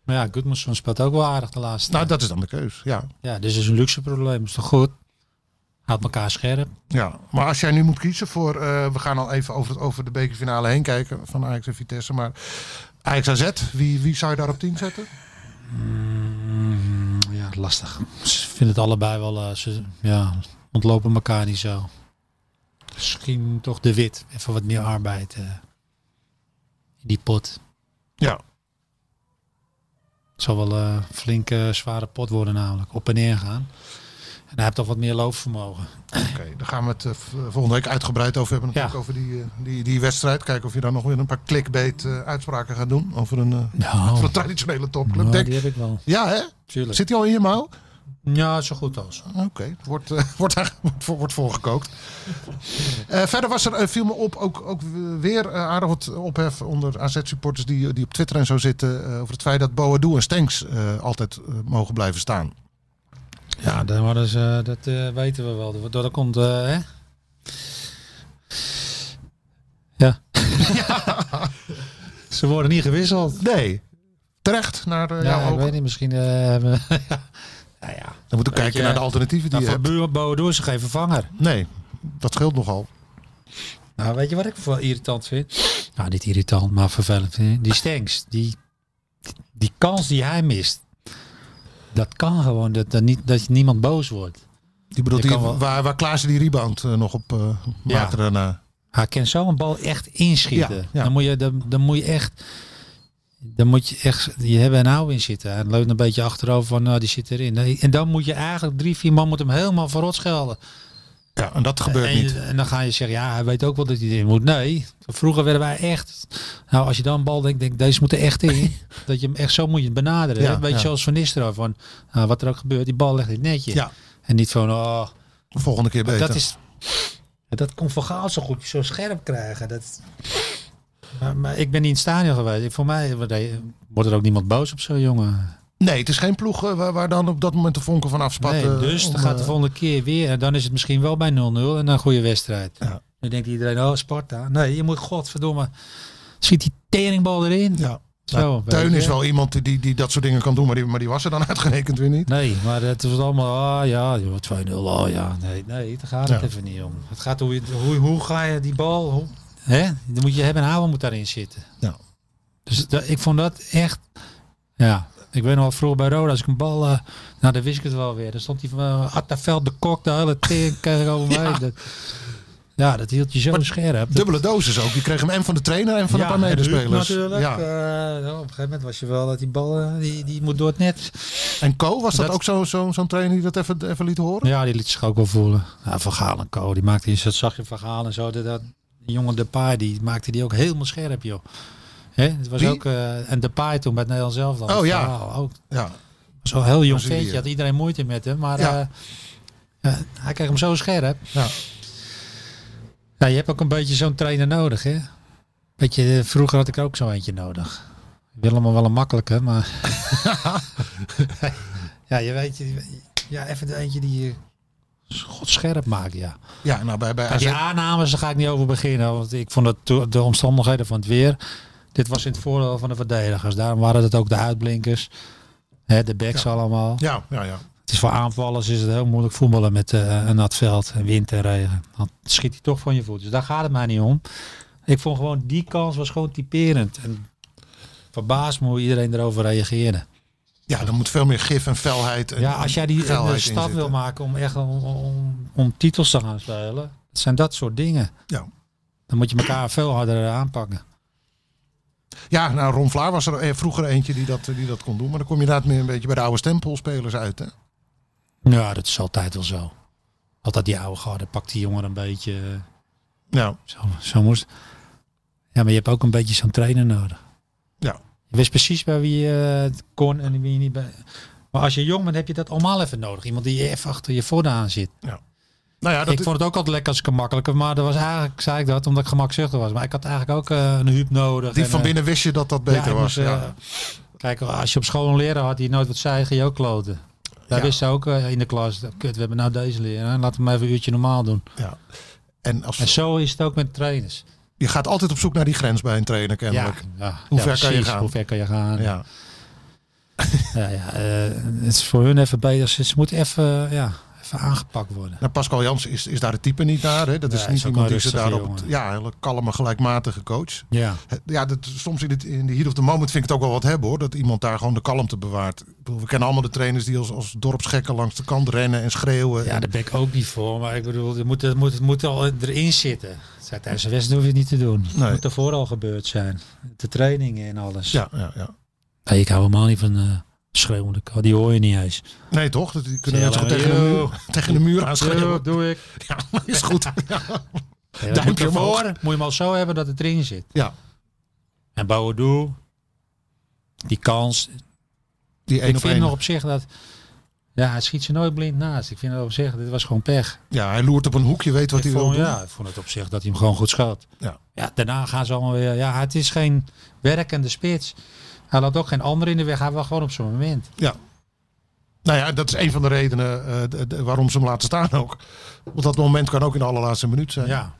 Maar ja, Goodmanson speelt ook wel aardig de laatste
Nou,
tijd.
dat is dan de keus. Ja.
Ja, dit is een luxe probleem. Is toch goed? Houdt elkaar scherp.
ja. Maar als jij nu moet kiezen voor. eh, we gaan al even over, het, over de bekerfinale heen kijken van Ajax en Vitesse. Maar Ajax AZ, wie, wie zou je daar op 10 zetten?
Ja, lastig. Ze vinden het allebei wel. eh, ze ja, ontlopen elkaar niet zo. Misschien toch de wit. Even wat meer arbeid. eh, in die pot.
Ja.
Het zal wel eh, een flinke, zware pot worden, namelijk. Op en neer gaan. En hij heeft toch wat meer loopvermogen.
Oké, daar gaan we het eh, v- volgende week uitgebreid over hebben. Natuurlijk
Ja.
over die, eh, die, die wedstrijd. Kijken of je dan nog weer een paar clickbait eh, uitspraken gaat doen. Over een, eh,
Nou,
over een traditionele topclub.
nou,
Denk-
die heb ik wel.
ja, hè?
Tuurlijk.
Zit hij al in je mouw?
Ja, zo goed als.
Oké, wordt, eh, wordt, daar- wordt, voor- wordt voorgekookt. Eh, verder was er, eh, viel me op, ook, ook weer eh, aardig wat ophef onder AZ-supporters die, die op Twitter en zo zitten. eh, over het feit dat Boadu en Stenks eh, altijd eh, mogen blijven staan.
Ja, dan worden ze, dat eh, weten we wel. Dat, dat komt, eh, hè? Ja. ze worden niet gewisseld.
Nee. Terecht naar eh,
Ja,
jouw
ik
ogen.
weet niet, misschien eh, hebben we... Nou ja,
Dan moeten we
Weet
kijken
je,
naar de alternatieven die eh,
nou,
je
voor
hebt.
Buur Boadou is er geen vervanger.
Nee, dat scheelt nogal.
Nou, weet je wat ik wel irritant vind? Nou, niet irritant, maar vervelend. vind. Die Stenks, die, die kans die hij mist, dat kan gewoon, dat, dat, niet, dat niemand boos wordt.
Die bedoelt
Je
die,
kan wel-
waar, waar Klaassen die rebound eh, nog op eh maakte daarna.
Hij kan zo een bal echt inschieten.
Ja, ja.
Dan, moet je, dan, dan moet je echt. Dan moet je echt je hebben en houden in zitten. Hij leunt een beetje achterover van nou die zit erin. Nee, En dan moet je eigenlijk drie, vier man moet hem helemaal verrot schelden.
Ja, en dat gebeurt
en, je-
niet.
en dan ga je zeggen, ja, hij weet ook wel dat hij erin moet. Nee, vroeger werden wij echt. Nou, als je dan een bal denkt, denk deze moet er echt in. dat je hem echt zo moet je het benaderen.
Ja,
hè? Een beetje
ja.
zoals Van Nistelrooy. Van, nou, wat er ook gebeurt, die bal legt in het netje.
Ja.
En niet van, oh,
Volgende keer
maar
beter.
Dat is. Dat komt van Gaal zo goed, zo scherp krijgen. Dat... Maar, maar ik ben niet in het stadion geweest. Ik- Voor mij wordt hij- wordt er ook niemand boos op zo'n jongen.
Nee, het is geen ploeg eh, waar, waar dan op dat moment de vonken van afspat.
Nee,
eh,
dus dan
om,
gaat de
eh,
volgende keer weer. En dan is het misschien wel bij 0-0 en een goede wedstrijd.
Ja.
Dan denkt iedereen, oh Sparta. Nee, je moet godverdomme. Schiet die teringbal erin.
Ja. Nou,
Zo, weet
Teun
je.
is wel iemand die, die, die dat soort dingen kan doen, maar die, maar die was er dan uitgerekend weer niet.
Nee, maar het was allemaal, ah ja, joh, 2-0, ah ja. Nee, nee, daar gaat het
Ja.
even niet om. Het gaat hoe, je- hoe, hoe ga je die bal, hoe, hè? Dan moet je hebben en houden moet daarin zitten.
Ja.
Dus dat, ik vond dat echt, ja. Ik weet nog wel vroeger bij Roda, als ik een bal, eh nou dan wist ik het wel weer. Dan stond die van eh, Attaveld de Kok, de hele tering kreeg over mij. Dat- Ja. Dat, hield je zo
Maar
scherp. Dat-
Dubbele dosis ook. Die kreeg hem en van de trainer en van een paar
en
medespelers.
Huub Natuurlijk.
Ja.
Eh, nou, op een gegeven moment was je wel dat die bal, eh, die, die moet door het net.
En Co, was dat,
dat-
ook zo'n zo, zo'n trainer die dat even, even liet horen?
Ja, die liet zich ook wel voelen. Ja, van Gaal en Co. Die maakte die, dat zag je van Gaal en zo. Dat, dat, die jongen Depay, die maakte die ook helemaal scherp, joh. Hè? Het was
Wie?
ook eh en Depay toen bij het Nederlands zelf dan.
Oh, ja.
ook
Ja.
zo'n heel jong
Brazilië.
ventje had iedereen moeite met hem, maar
Ja.
eh, eh, hij kreeg hem zo scherp.
Ja.
Ja, je hebt ook een beetje zo'n trainer nodig, hè? Weet je, vroeger had ik ook zo eentje nodig. Willem wel een makkelijke, maar... ja, je weet... je- Ja, even eentje die je godscherp maakt, ja.
Ja, nou bij, bij
Ja,
AZ.
die aannames, daar ga ik niet over beginnen. Want ik vond dat to- de omstandigheden van het weer. Dit was in het voordeel van de verdedigers. Daarom waren het ook de uitblinkers. Hè, de backs allemaal.
Ja, ja, ja.
Het is voor aanvallers is het heel moeilijk voetballen met eh, een nat veld. En wind en regen. Dan schiet hij toch van je voet. Dus daar gaat het mij niet om. Ik vond gewoon die kans was gewoon typerend. En verbaasd me hoe iedereen erover reageerde.
Ja, dan moet veel meer gif en felheid. En
Ja, als jij die een,
geilheid
eh,
in
stap
zitten.
wil maken om echt om, om, om titels te gaan spelen. Het zijn dat soort dingen.
Ja.
Dan moet je elkaar veel harder aanpakken.
Ja, nou, Ron Vlaar was er eh, vroeger eentje die dat, die dat kon doen. Maar dan kom je inderdaad meer een beetje bij de oude stempelspelers uit. Hè?
Ja, dat is altijd wel zo. Altijd die oude garde pakt die jongen een beetje. eh,
Nou,
Zo, zo moest. Ja, maar je hebt ook een beetje zo'n trainer nodig.
Ja.
Je wist precies bij wie je het kon en wie je niet bij. Maar als je jong bent, heb je dat allemaal even nodig. Iemand die even achter je voordaan aan zit.
nou ja, dat,
ik vond het ook altijd lekker als ik gemakkelijker, maar dat was eigenlijk, zei ik dat, omdat ik gemakzuchtig was. Maar ik had eigenlijk ook eh, een huub nodig.
die
en,
van
eh,
binnen wist je dat dat
ja,
beter
ik
was.
moest, eh,
ja.
Kijk, als je op school een leraar had die nooit wat zei, ging je ook kloten. Daar
Ja.
wist ze ook eh, in de klas. Kut, we hebben nou deze leraar. Laat hem even een uurtje normaal doen.
ja. En als,
En zo is het ook met trainers.
je gaat altijd op zoek naar die grens bij een trainer,
Ja,
kennelijk.
ja,
Hoe
ja,
ver kan je
precies.
gaan?
Hoe ver kan je gaan? Ja.
Ja.
Ja, eh, het is voor hun even beter. Ze, ze moeten even, ja, even aangepakt worden.
Nou, Pascal Jans is, is daar het type niet naar. Hè? Dat is
Ja,
niet
is ook
iemand
een
die ze
rustige
daarop... op.
jongen.
Ja, hele kalme, gelijkmatige coach.
Ja,
Eh, Ja, dat, soms in, het, in de heat of the moment vind ik het ook wel wat hebben hoor. Dat iemand daar gewoon de kalmte bewaart. Ik bedoel, we kennen allemaal de trainers die als, als dorpsgekken langs de kant rennen en schreeuwen.
ja
En-
daar ben ik ook niet voor. Maar ik bedoel, het moet, het moet, het moet al erin zitten. Zij Tijdens de wedstrijd hoef je het niet te doen.
Nee.
Het moet ervoor al gebeurd zijn. De trainingen en alles.
ja, ja, ja.
Nee, ik hou helemaal niet van eh schreeuwende k- Die hoor je niet eens.
Nee toch? Dat, die kunnen
Ze
mensen gewoon
hebben-
tegen de muur, tegen de muur aan
Yo,
schreeuwen.
doe ik.
Ja, is goed. Ja.
Ja, dan
Duimpje
moet, je hem
omhoog.
horen. moet je hem al zo hebben dat het erin zit.
Ja.
En Boadu, die kans.
Die één
ik
op
vind
één.
nog op zich dat... Ja, hij schiet ze nooit blind naast. Ik vind dat op zich, dit was gewoon pech.
Ja, hij loert op een hoekje, weet wat
ik,
hij wil
vond,
doen.
ja, ik vond het op zich dat hij hem gewoon goed schoot.
Ja.
daarna gaan ze allemaal weer... Ja, het is geen werkende spits. Hij laat ook geen ander in de weg. Hij wacht gewoon op zijn moment.
Nou ja, dat is een van de redenen eh, d- d- waarom ze hem laten staan ook. Want dat moment kan ook in de allerlaatste minuut zijn.
Ja.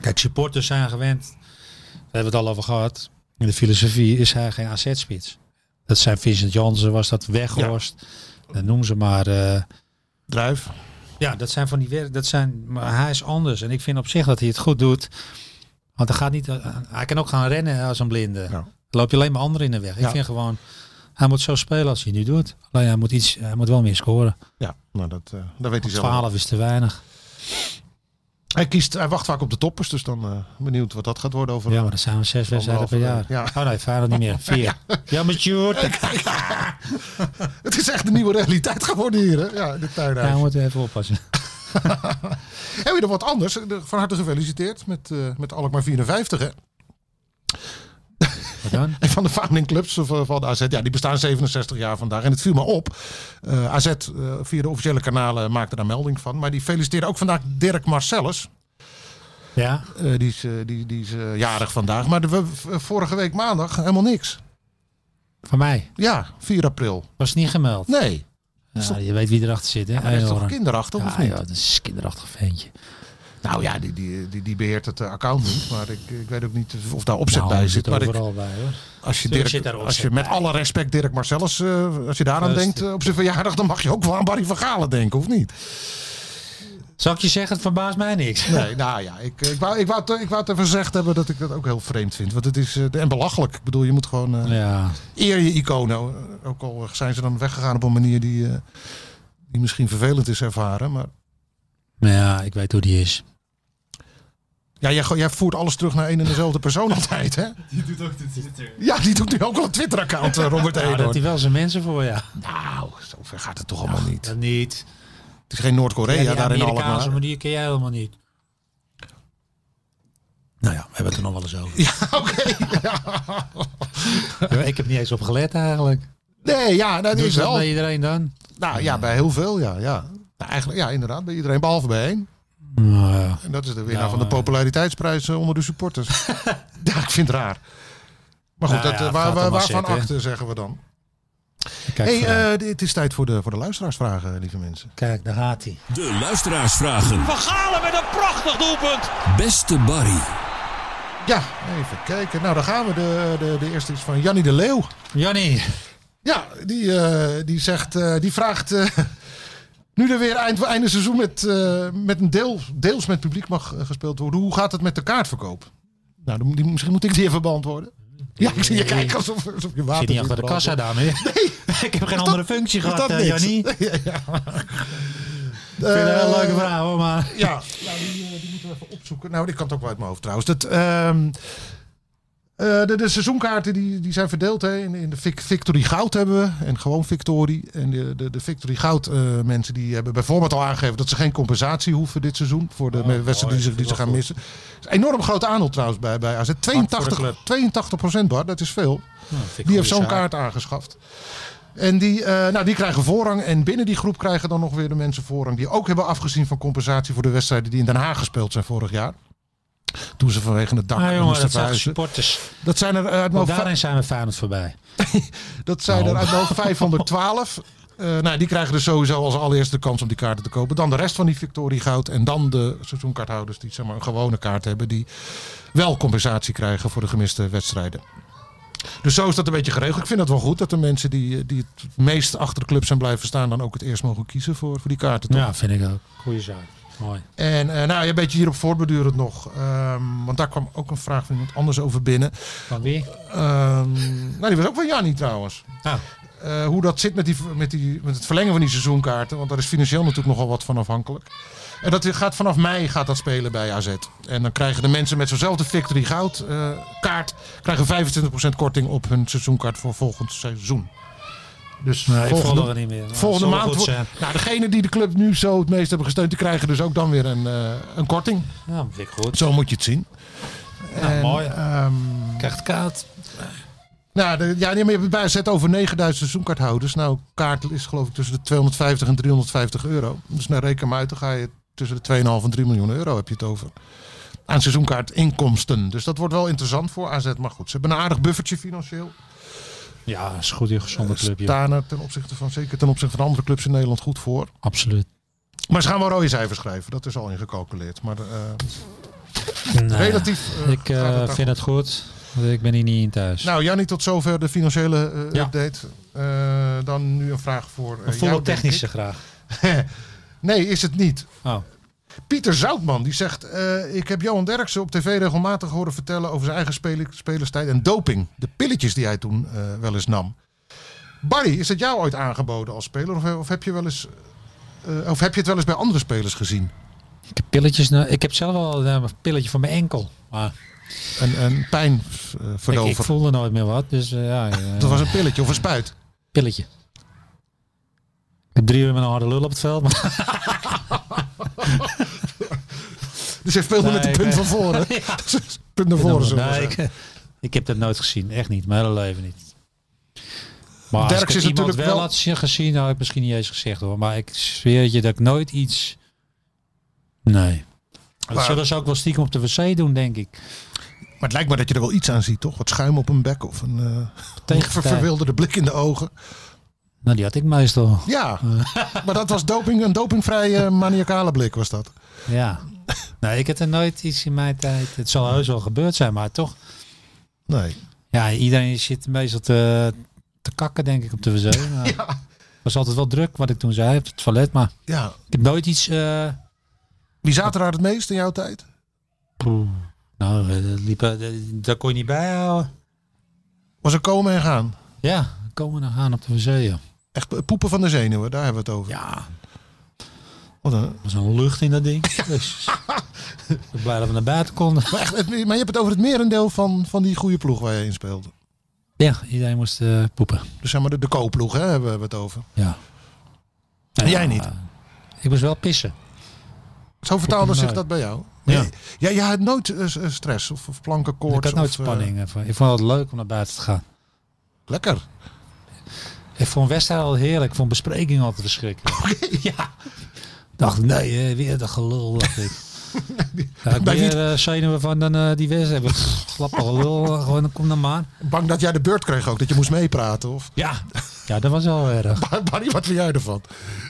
Kijk, supporters zijn gewend. We hebben het al over gehad. In de filosofie is hij geen AZ-spits. Dat zijn Vincent Jansen, was dat Weghorst. Dan noem ze maar. eh,
Druif.
ja, dat zijn van die werk. Dat zijn, maar hij is anders. En ik vind op zich dat hij het goed doet. Want hij gaat niet. eh, hij kan ook gaan rennen als een blinde. Dan loop je alleen maar anderen in de weg.
Ja.
Ik vind gewoon. Hij moet zo spelen als hij nu doet. Alleen hij moet, iets, hij moet wel meer scoren.
Ja, nou dat, eh dat weet hij zelf.
12 is te weinig.
Hij, kiest, hij wacht vaak op de toppers, dus dan eh, benieuwd wat dat gaat worden over eh,
Ja, maar dat zijn we zes wedstrijden per jaar.
Anderhalve week,
Oh nee, vijf niet meer. Vier. Ja, maar Sjoerd.
Het is echt de nieuwe realiteit geworden hier, hè? Ja, in het tuinhuis.
Ja, we moeten even oppassen.
En weer nog wat anders. De- Van harte gefeliciteerd met, eh met Alkmaar 54, hè?
Wat dan?
En van de founding clubs van, van de AZ. Ja, die bestaan 67 jaar vandaag. En het viel me op. Eh, AZ eh, via de officiële kanalen maakte daar melding van. Maar die feliciteerde ook vandaag Dirk Marcellus.
Ja,
Eh, die is, eh, die, die is eh, jarig vandaag. Maar de, we- v- eh, vorige week maandag helemaal niks.
van mij.
Ja, 4 april.
Was niet gemeld.
Nee,
Ja, je weet wie erachter zit, hè?
maar dat is toch
Eihoorn.
kinderachtig of
ja,
niet?
joh, dat is een kinderachtig ventje.
Nou ja, die, die, die, die beheert het eh, account niet. Maar ik, ik weet ook niet of daar opzet
Nou,
bij
er
zit.
zit
Maar ik,
overal bij, hoor.
als je,
Tuurlijk
Dirk,
zit daar
als
opzet
je met
bij.
alle respect Dirk Marcellus, eh, als je daaraan
Rustig.
denkt eh, op zijn verjaardag, dan mag je ook wel aan Barry van Galen denken, of niet?
Zal ik je zeggen, het verbaast mij niks.
Nee, nou ja, ik, ik, wou, ik, wou, het- ik wou het even gezegd hebben dat ik dat ook heel vreemd vind. Want het is eh, en belachelijk. Ik bedoel, je moet gewoon eh,
Ja,
eer je iconen. Eh, Ook al zijn ze dan weggegaan op een manier die, eh, die misschien vervelend is ervaren. Maar
maar Nou ja, ik weet hoe die is.
ja, jij, go- jij voert alles terug naar één en dezelfde persoon altijd, hè? Die doet ook de Twitter. Ja, die doet nu ook wel een Twitter-account, eh, Robert
Nou, dat
Edo.
hij wel zijn mensen voor, ja.
Nou, zover gaat het toch allemaal niet.
Dat niet.
Het is geen Noord-Korea
die
daarin
Amerikaanse
allemaal.
manier ken jij helemaal niet. Nou ja, we hebben het er nog wel eens over.
Ja, oké. ja.
Ik heb niet eens op gelet eigenlijk.
Nee, ja, dat
Doe
is
je dat
wel.
bij iedereen dan?
Nou ja, bij heel veel, ja. ja. Nou, eigenlijk, ja, inderdaad, bij iedereen, behalve bij één.
Nou,
En dat is de winnaar
Nou,
van de
eh.
populariteitsprijs eh, onder de supporters. ja, ik vind het raar. Maar goed,
Nou
dat,
ja, gaat
eh, waar, waar,
er maar
waarvan
zitten.
achter zeggen we dan?
kijk,
hey,
vooruit.
eh, het is tijd voor de, voor de luisteraarsvragen, lieve mensen.
kijk, daar gaat hij.
De luisteraarsvragen.
Van Galen met een prachtig doelpunt.
Beste Barry.
Ja, even kijken. Nou, daar gaan we. De, de, de eerste is van Jannie de Leeuw.
Jannie,
Ja, die, eh, die, zegt, eh, die vraagt. eh, nu er weer eind, einde seizoen met, eh, met een deel, deels met publiek mag eh, gespeeld worden. Hoe gaat het met de kaartverkoop? Nou, dan moet- die, misschien moet ik die even beantwoorden. Ja, ik zie je kijken alsof, alsof je water
zit niet
zit
achter de kassa,
branden.
dame. Nee. ik heb geen andere functie
is
gehad,
dat
eh,
niks?
Jannie. Ik vind het een
Eh,
hele leuke vraag, hoor, maar...
Ja, nou, die, eh, die moeten we even opzoeken. Nou, die kan het ook wel uit mijn hoofd trouwens. Dat, ehm, eh, de, de seizoenkaarten die, die zijn verdeeld. Hè. In, in de Vic- Victory Goud hebben we en gewoon Victory. En de, de, de Victory Goud eh, mensen die hebben bijvoorbeeld al aangegeven dat ze geen compensatie hoeven dit seizoen. Voor de wedstrijden die ze, die ze gaan missen. Is een enorm groot aandeel trouwens bij, bij AZ. 82, 82 procent Bar, dat is veel. Die heeft zo'n kaart aangeschaft. En die, eh, nou, die krijgen voorrang. En binnen die groep krijgen dan nog weer de mensen voorrang. die ook hebben afgezien van compensatie voor de wedstrijden die in Den Haag gespeeld zijn vorig jaar. Toen ze vanwege het dak
Ah, jongen,
moesten
dat zijn
verhuizen.
supporters.
Dat zijn er eh, uit mijn
Want
hoofd
daarin zijn we Feyenoord voorbij.
dat zijn er uit mijn hoofd 512. Eh, nou, die krijgen dus sowieso als allereerste de kans om die kaarten te kopen. Dan de rest van die Victorie Goud. En dan de seizoenkaarthouders die zeg maar, een gewone kaart hebben. Die wel compensatie krijgen voor de gemiste wedstrijden. Dus zo is dat een beetje geregeld. Ik vind het wel goed dat de mensen die, eh, die het meest achter de club zijn blijven staan... dan ook het eerst mogen kiezen voor, voor die kaarten. toch?
Ja, vind ik ook. Goeie zaak. Mooi.
En eh, nou, een beetje hierop voortbedurend nog. Ehm, want daar kwam ook een vraag van iemand anders over binnen.
Van wie?
Ehm, nou, die was ook van Jannie trouwens.
Ah,
Eh, hoe dat zit met, die, met, die, met het verlengen van die seizoenkaarten. Want daar is financieel natuurlijk nogal wat van afhankelijk. En dat gaat vanaf mei gaat dat spelen bij AZ. En dan krijgen de mensen met zo'nzelfde Victory Goud eh, kaart... krijgen 25% korting op hun seizoenkaart voor volgend seizoen. Dus
nee, eh, ik volg
volgende,
er niet meer. Maar
volgende
het eh, zal wel
maand...
goed
wo-
zijn.
Nou, degene die de club nu zo het meest hebben gesteund... die krijgen dus ook dan weer een, eh, een korting.
Ja, vind ik goed.
Zo moet je het zien. En,
Nou, mooi.
ehm,
Krijgt kaart.
nou, de, ja, nee, maar je hebt bij zet over 9000 seizoenkaarthouders. Nou, kaart is geloof ik tussen de 250 en 350 euro. Dus nou, reken maar uit, dan ga je tussen de 2,5 en 3 miljoen euro heb je het over. Aan seizoenkaartinkomsten. Dus dat wordt wel interessant voor AZ. Maar goed, ze hebben een aardig buffertje financieel.
Ja, is goed in gezonde club. joh.
Staan er ten opzichte van, zeker ten opzichte van andere clubs in Nederland goed voor.
Absoluut.
Maar ze gaan wel rode cijfers schrijven. Dat is al ingecalculeerd. Maar eh,
Nee,
relatief eh,
Ah, Ik eh,
gaat het daar
vind het goed. Want Ik ben hier niet in thuis.
Nou, Jannie, tot zover de financiële eh,
Ja.
update. Eh, dan nu een vraag voor eh,
een volle
jou, denk
technische
ik.
graag.
Nee, is het niet.
Oh.
Pieter Zoutman die zegt: eh, Ik heb Johan Derksen op tv regelmatig horen vertellen over zijn eigen spel- spelerstijd en doping. De pilletjes die hij toen eh, wel eens nam. Barry, is dat jou ooit aangeboden als speler? Of, of, heb je wel eens, eh, of heb je het wel eens bij andere spelers gezien?
Ik heb pilletjes. nou- Ik heb zelf wel eh, een pilletje voor mijn enkel. Maar
Een, een
ik,
pijnverdover.
ik voelde nooit meer wat. Dus eh, ja, eh,
Dat was een pilletje of een spuit.
pilletje. Ik heb drie uur met een harde lul op het veld. Maar
Dus hij speelde met de
Nee,
punt
ik ben-
van voren. punt naar voren. zullen we
nee,
zeggen.
ik, ik heb dat nooit gezien. Echt niet. Mijn hele leven niet. Maar als
Derks
ik
is
het iemand
natuurlijk
wel
wel-
had zien- gezien, had ik misschien niet eens gezegd hoor. Maar ik zweer het je dat ik nooit iets... Nee. Dat
Maar-
zullen ze ook wel stiekem op de wc doen, denk ik.
Maar het lijkt me dat je er wel iets aan ziet, toch? Wat schuim op een bek of een eh, ver-
Tegenpartij.
verwilderde blik in de ogen.
Nou, die had ik meestal.
Ja, maar dat was doping, een dopingvrije eh, maniacale blik was dat.
Ja. nee, ik heb er nooit iets in mijn tijd. Het zal heus wel gebeurd zijn, maar toch.
Nee.
Ja, iedereen zit meestal te, te kakken, denk ik, op de wc. Maar was altijd wel druk, wat ik toen zei, op het toilet. Maar
Ja.
ik heb nooit iets... eh,
Wie zaten er het meest in jouw tijd?
nou, eh, dat liep, eh, daar kon je niet bijhouden.
Was er komen en gaan.
Ja, komen we nog aan op de wc, joh.
Echt po- poepen van de zenuwen, daar hebben we het over.
Ja,
Wat een-
er was een lucht in dat ding. Dus, ik ben blij dat we naar buiten konden.
maar, echt, het- maar je hebt het over het merendeel van, van die goede ploeg waar je in speelde.
Ja, iedereen moest eh, poepen.
Dus zeg maar de, de koopploeg hè, hebben we het over.
Ja.
En jij niet?
Ik moest wel pissen.
Zo vertaalde
Poepen
zich
nooit.
dat bij jou?
Ja.
Nee. Ja, je had nooit eh, s- eh, stress of, of plankenkoorts.
Ik had nooit
of, eh,
spanning. eh, van- Ik vond het leuk om naar buiten te gaan.
lekker.
Ik vond wedstrijden al heerlijk. Ik vond besprekingen altijd verschrikkelijk. Ja. Dacht, nee, eh, weer dat gelul. Dacht ik. Ja, ik
Bij
ben
wie-
weer eh, zenuwen van dan, eh, die wedstrijd. Pff, Slappe lul, gewoon kom dan maar.
Bang dat jij de beurt kreeg ook, dat je moest meepraten. Of
Ja. ja, dat was wel erg.
Barry, wat vind jij ervan?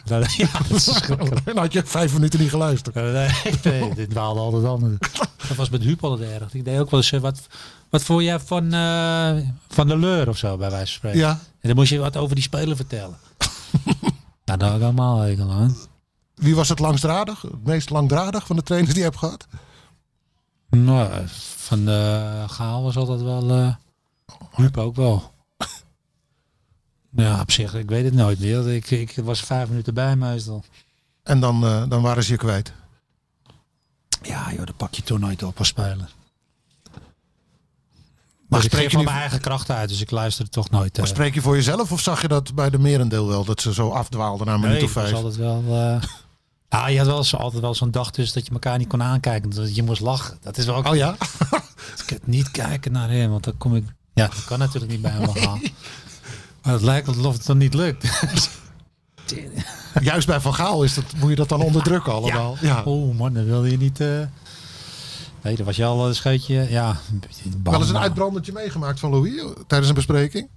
Dat- ja, dat is verschrikkelijk.
Dan had je vijf minuten niet geluisterd.
Eh, nee, nee, dit waalde altijd anders. Dat was met Huub altijd erg. Ik deed ook wel eens, eh, wat, wat vond jij van, eh, van de leur of zo, bij wijze van spreken.
Ja.
En dan moest je wat over die speler vertellen. nou, dat had ik allemaal hekel aan.
Wie was het langdradig? Het meest langdradig van de trainers die je hebt gehad?
Nou, van de Gaal was altijd wel... eh Huub ook wel. Ja, op zich, ik weet het nooit meer. Ik, ik was vijf minuten bij meestal.
En dan, eh, dan waren ze je kwijt.
Ja, joh, dat pak je toen nooit op als speler.
Maar
Maar ik
spreek
geef
je
van
niet-
mijn eigen kracht uit, dus ik luister toch nooit.
Maar
eh.
spreek je voor jezelf of zag je dat bij de merendeel wel? Dat ze zo afdwaalden naar een minuut
Nee,
of
het was
vijf?
altijd wel. eh, ja, je had wel zo, altijd wel zo'n dag dus dat je elkaar niet kon aankijken. Dat je moest lachen. Dat is wel ook.
Oh ja?
Ik kan niet kijken naar hem, want dan kom ik. Ja, dat kan natuurlijk niet bij hem gaan. Maar het lijkt wel alsof het dan niet lukt.
Juist bij Van Gaal is dat, moet je dat dan onderdrukken allemaal. Ja.
Oh man, dan wilde je niet. eh, Nee, dat was je al een scheetje. Ja, een beetje bang,
Wel eens een
maar-
uitbrandertje meegemaakt van Louis eh, tijdens een bespreking?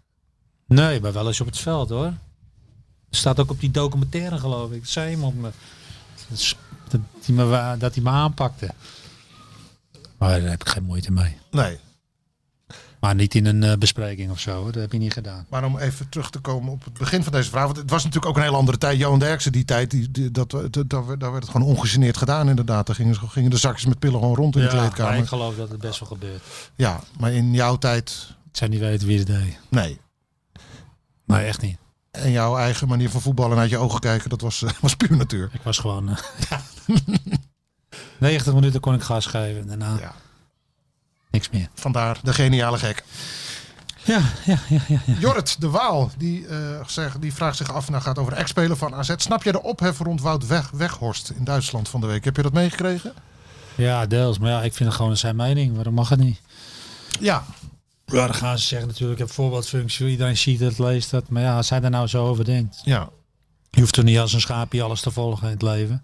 Nee, maar wel eens op het veld hoor. Staat ook op die documentaire geloof ik. Dat Zei iemand me. Dat is- Dat hij me, wa- dat hij me aanpakte. Maar daar heb ik geen moeite mee.
Nee.
Maar niet in een eh, bespreking of zo, hoor. dat heb je niet gedaan.
Maar om even terug te komen op het begin van deze vraag. Want het was natuurlijk ook een hele andere tijd. Johan Derksen, die tijd, die, die- dat, dat, dat- daar werd het gewoon ongegeneerd gedaan inderdaad. Daar gingen, ze- gingen de zakjes met pillen gewoon rond in de
maar ik
kleedkamer.
geloof dat het best wel gebeurt.
Ja, maar in jouw tijd,
Ik zou niet weten wie het deed.
nee.
Nee, echt niet.
En jouw eigen manier van voetballen uit je ogen kijken, dat was, eh, was puur natuur.
Ik was gewoon... eh, ja. 90 minuten kon ik gas geven en daarna
Ja.
niks meer.
Vandaar de geniale gek.
Ja, ja, ja. ja, ja.
Jorrit de Waal, die, eh, zegt- die vraagt zich af, nou gaat over de ex-speler van AZ. Snap je de ophef rond Wout Weg, Weghorst in Duitsland van de week? Heb je dat meegekregen?
Ja, deels. Maar ja, ik vind het gewoon zijn mening. Waarom mag het niet?
Ja,
Ja, dan gaan ze zeggen natuurlijk, ik heb voorbeeldfunctie. Iedereen ziet het, leest dat. Maar ja, als hij daar nou zo over denkt.
ja.
Je hoeft er niet als een schaapje alles te volgen in het leven.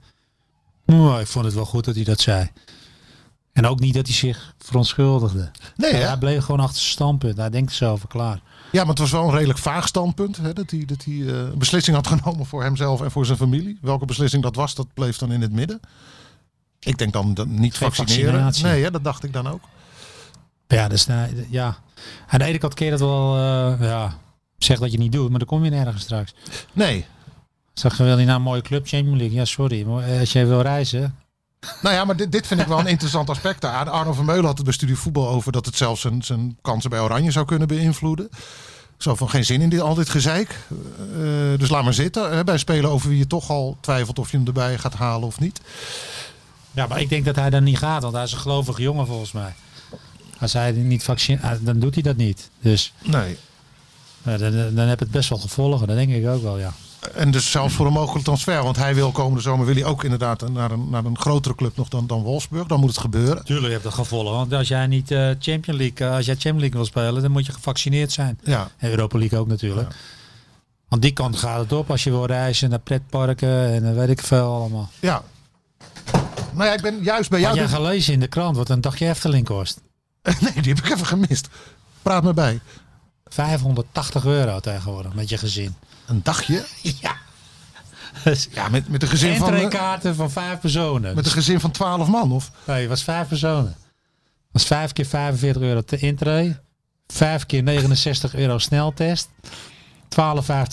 Maar ik vond het wel goed dat hij dat zei. En ook niet dat hij zich verontschuldigde.
Nee,
Ja,
hè?
hij bleef gewoon achter zijn standpunt. Hij denkt zelf wel klaar.
Ja, maar het was wel een redelijk vaag standpunt. Hè, dat hij, dat hij eh, een beslissing had genomen voor hemzelf en voor zijn familie. Welke beslissing dat was, dat bleef dan in het midden. Ik denk dan dat niet
Geen
vaccineren.
vaccinatie.
Nee, hè, dat dacht ik dan ook.
Ja, dus, eh, ja. aan de ene kant keer dat wel, eh, ja, zeg dat je niet doet, maar dan kom je nergens straks.
Nee.
Zeg, wil je naar een mooie club, Champions League? Ja, sorry, maar eh, als jij wil reizen.
Nou ja, maar dit, dit vind ik wel een interessant aspect daar. Arno Vermeulen had het bij Studie Voetbal over dat het zelfs zijn, zijn kansen bij Oranje zou kunnen beïnvloeden. Zo van geen zin in dit, al dit gezeik. Eh, dus laat maar zitten. hè, bij spelen over wie je toch al twijfelt of je hem erbij gaat halen of niet.
Ja, maar ik denk dat hij dan niet gaat, want hij is een gelovig jongen volgens mij. Als hij niet vaccineert, dan doet hij dat niet. Dus
Nee.
eh, dan, dan dan heb het best wel gevolgen, dat denk ik ook wel, ja.
En dus zelfs voor een mogelijke transfer. Want hij wil komende zomer wil hij ook inderdaad naar een, naar een grotere club nog dan, dan Wolfsburg. Dan moet het gebeuren.
Tuurlijk heb je dat gevolgen, want als jij niet eh Champions League, eh, als jij Champions League wil spelen, dan moet je gevaccineerd zijn.
Ja.
En Europa League ook natuurlijk. Want die kant gaat het op als je wil reizen naar pretparken en dan weet ik veel allemaal.
ja. dus- Nou ja, ik ben juist bij jou.
Had jij gelezen in de krant wat een dagje Efteling kost?
Nee, die heb ik even gemist. Praat me bij.
580 euro tegenwoordig met je gezin. Dus
Een dagje?
Ja.
Ja, met, met een gezin van... eh,
Entreekaarten van vijf personen.
Met een gezin van 12 man, of?
Nee, het was vijf personen. Het was vijf keer 45 euro te intree. Vijf keer 69 euro sneltest. 12,50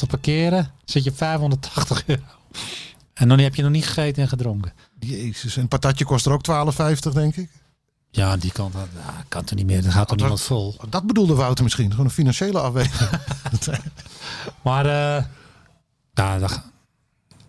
parkeren. Zit je op 580 euro. En dan heb je nog niet gegeten en gedronken.
Jezus, een patatje kost er ook 12,50, denk ik.
Ja, die kant dat nou, kan toch niet meer. Dat gaat toch niemand vol.
Oh, Dat bedoelde Wouter misschien, gewoon een financiële afweging.
Maar eh nou, dat,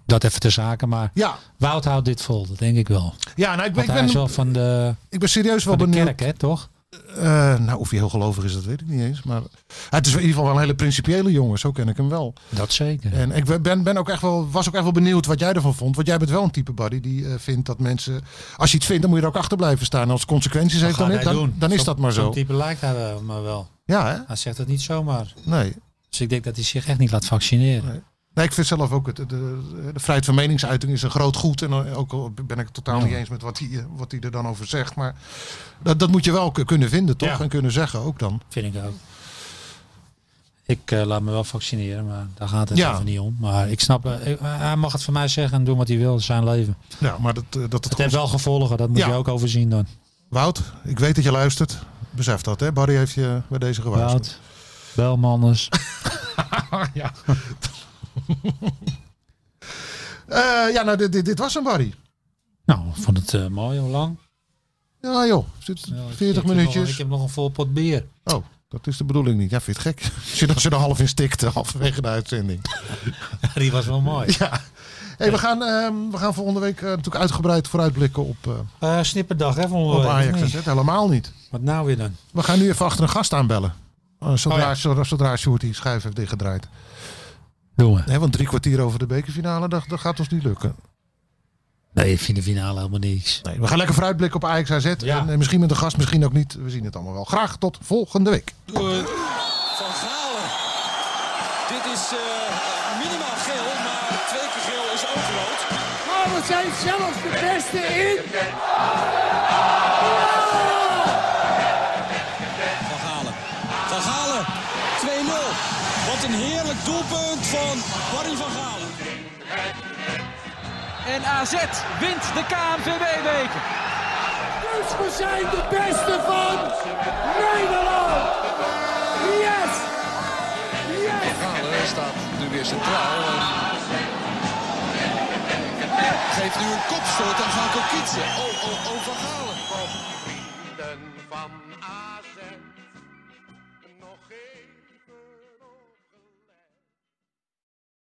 dat even ter zake. Maar
ja,
Wout houdt dit vol, dat denk ik wel.
ja nou, ik, ben,
Want
ik,
hij is
ben,
wel van de,
ik ben serieus wel
van de
benieuwd.
kerk, hè, toch?
Eh, nou, of hij heel gelovig is, dat weet ik niet eens. Maar het is in ieder geval wel een hele principiële jongen, zo ken ik hem wel.
Dat zeker.
En ik ben, ben ook echt wel, was ook echt wel benieuwd wat jij ervan vond. Want jij bent wel een type buddy die eh, vindt dat mensen... Als je iets vindt, dan moet je er ook achter blijven staan. En als het consequenties heeft,
Gaat
dan,
hij
dan,
doen.
dan is
Zo'n-
dat maar zo.
Zo'n type lijkt hij wel, maar wel.
Ja, hè?
Hij zegt het niet zomaar.
Nee.
Dus ik denk dat hij zich echt niet laat vaccineren.
Nee. Nee, ik vind zelf ook, het, de, de vrijheid van meningsuiting is een groot goed. En eh, ook al ben ik het totaal niet eens met wat hij eh, wat hij er dan over zegt. Maar dat, dat moet je wel k- kunnen vinden, toch?
Ja.
En kunnen zeggen ook dan.
Vind ik ook. Ik eh, laat me wel vaccineren, maar daar gaat het
Ja.
even niet om. Maar ik snap, eh, ik- hij mag het van mij zeggen en doen wat hij wil, zijn leven.
Ja, maar dat, eh, dat het,
Het heeft wel gevolgen, dat moet
Ja.
je ook overzien dan.
Wout, ik weet dat je luistert. Besef dat, hè? Barry heeft je bij deze gewaarschuwd.
Wout, bel me anders.
Eh, ja, nou, dit, dit, dit was hem, Barry.
nou, ik vond het eh, mooi, hoe lang?
Ja, joh. Zit
Ja, ik-
40
ik heb nog- ik
minuutjes.
heb nog een vol pot bier.
Oh, dat is de bedoeling niet. Ja, vind je het gek? Als je, als je er half in stikt, eh, halverwege de uitzending.
Die was wel mooi.
Ja. Hey, we, gaan, ehm, we gaan volgende week eh, natuurlijk uitgebreid vooruitblikken op, eh,
Eh snipperdag, hè, vonden
op
we.
Ajax.
of niet?
AZ. Helemaal niet.
Wat nou weer dan?
We gaan nu even achter een gast aanbellen. Eh, zodra,
Oh ja.
zodra, zodra Sjoerd die schuif heeft dichtgedraaid.
Doen we.
Hè, want drie kwartier over de bekerfinale, dat, dat gaat ons niet lukken.
Nee, ik vind de finale helemaal niks.
Nee, we gaan lekker vooruitblikken op Ajax AZ.
Ja.
En, eh, misschien met een gast, misschien ook niet. We zien het allemaal wel. Graag tot volgende week.
Van Galen. Dit is eh, minimaal geel, maar twee keer geel is ook rood.
Maar we zijn zelfs de beste in.
Van Galen. Van Galen. 2-0. Wat een heerlijk doelpunt van Barry van Galen.
En AZ wint de KNVB-beker.
Dus we zijn de beste van Nederland. Yes! Yes!
Galen staat nu weer centraal. en Geeft nu een kopstoot aan Van Kokitse. Oh, oh, oh, Van Galen.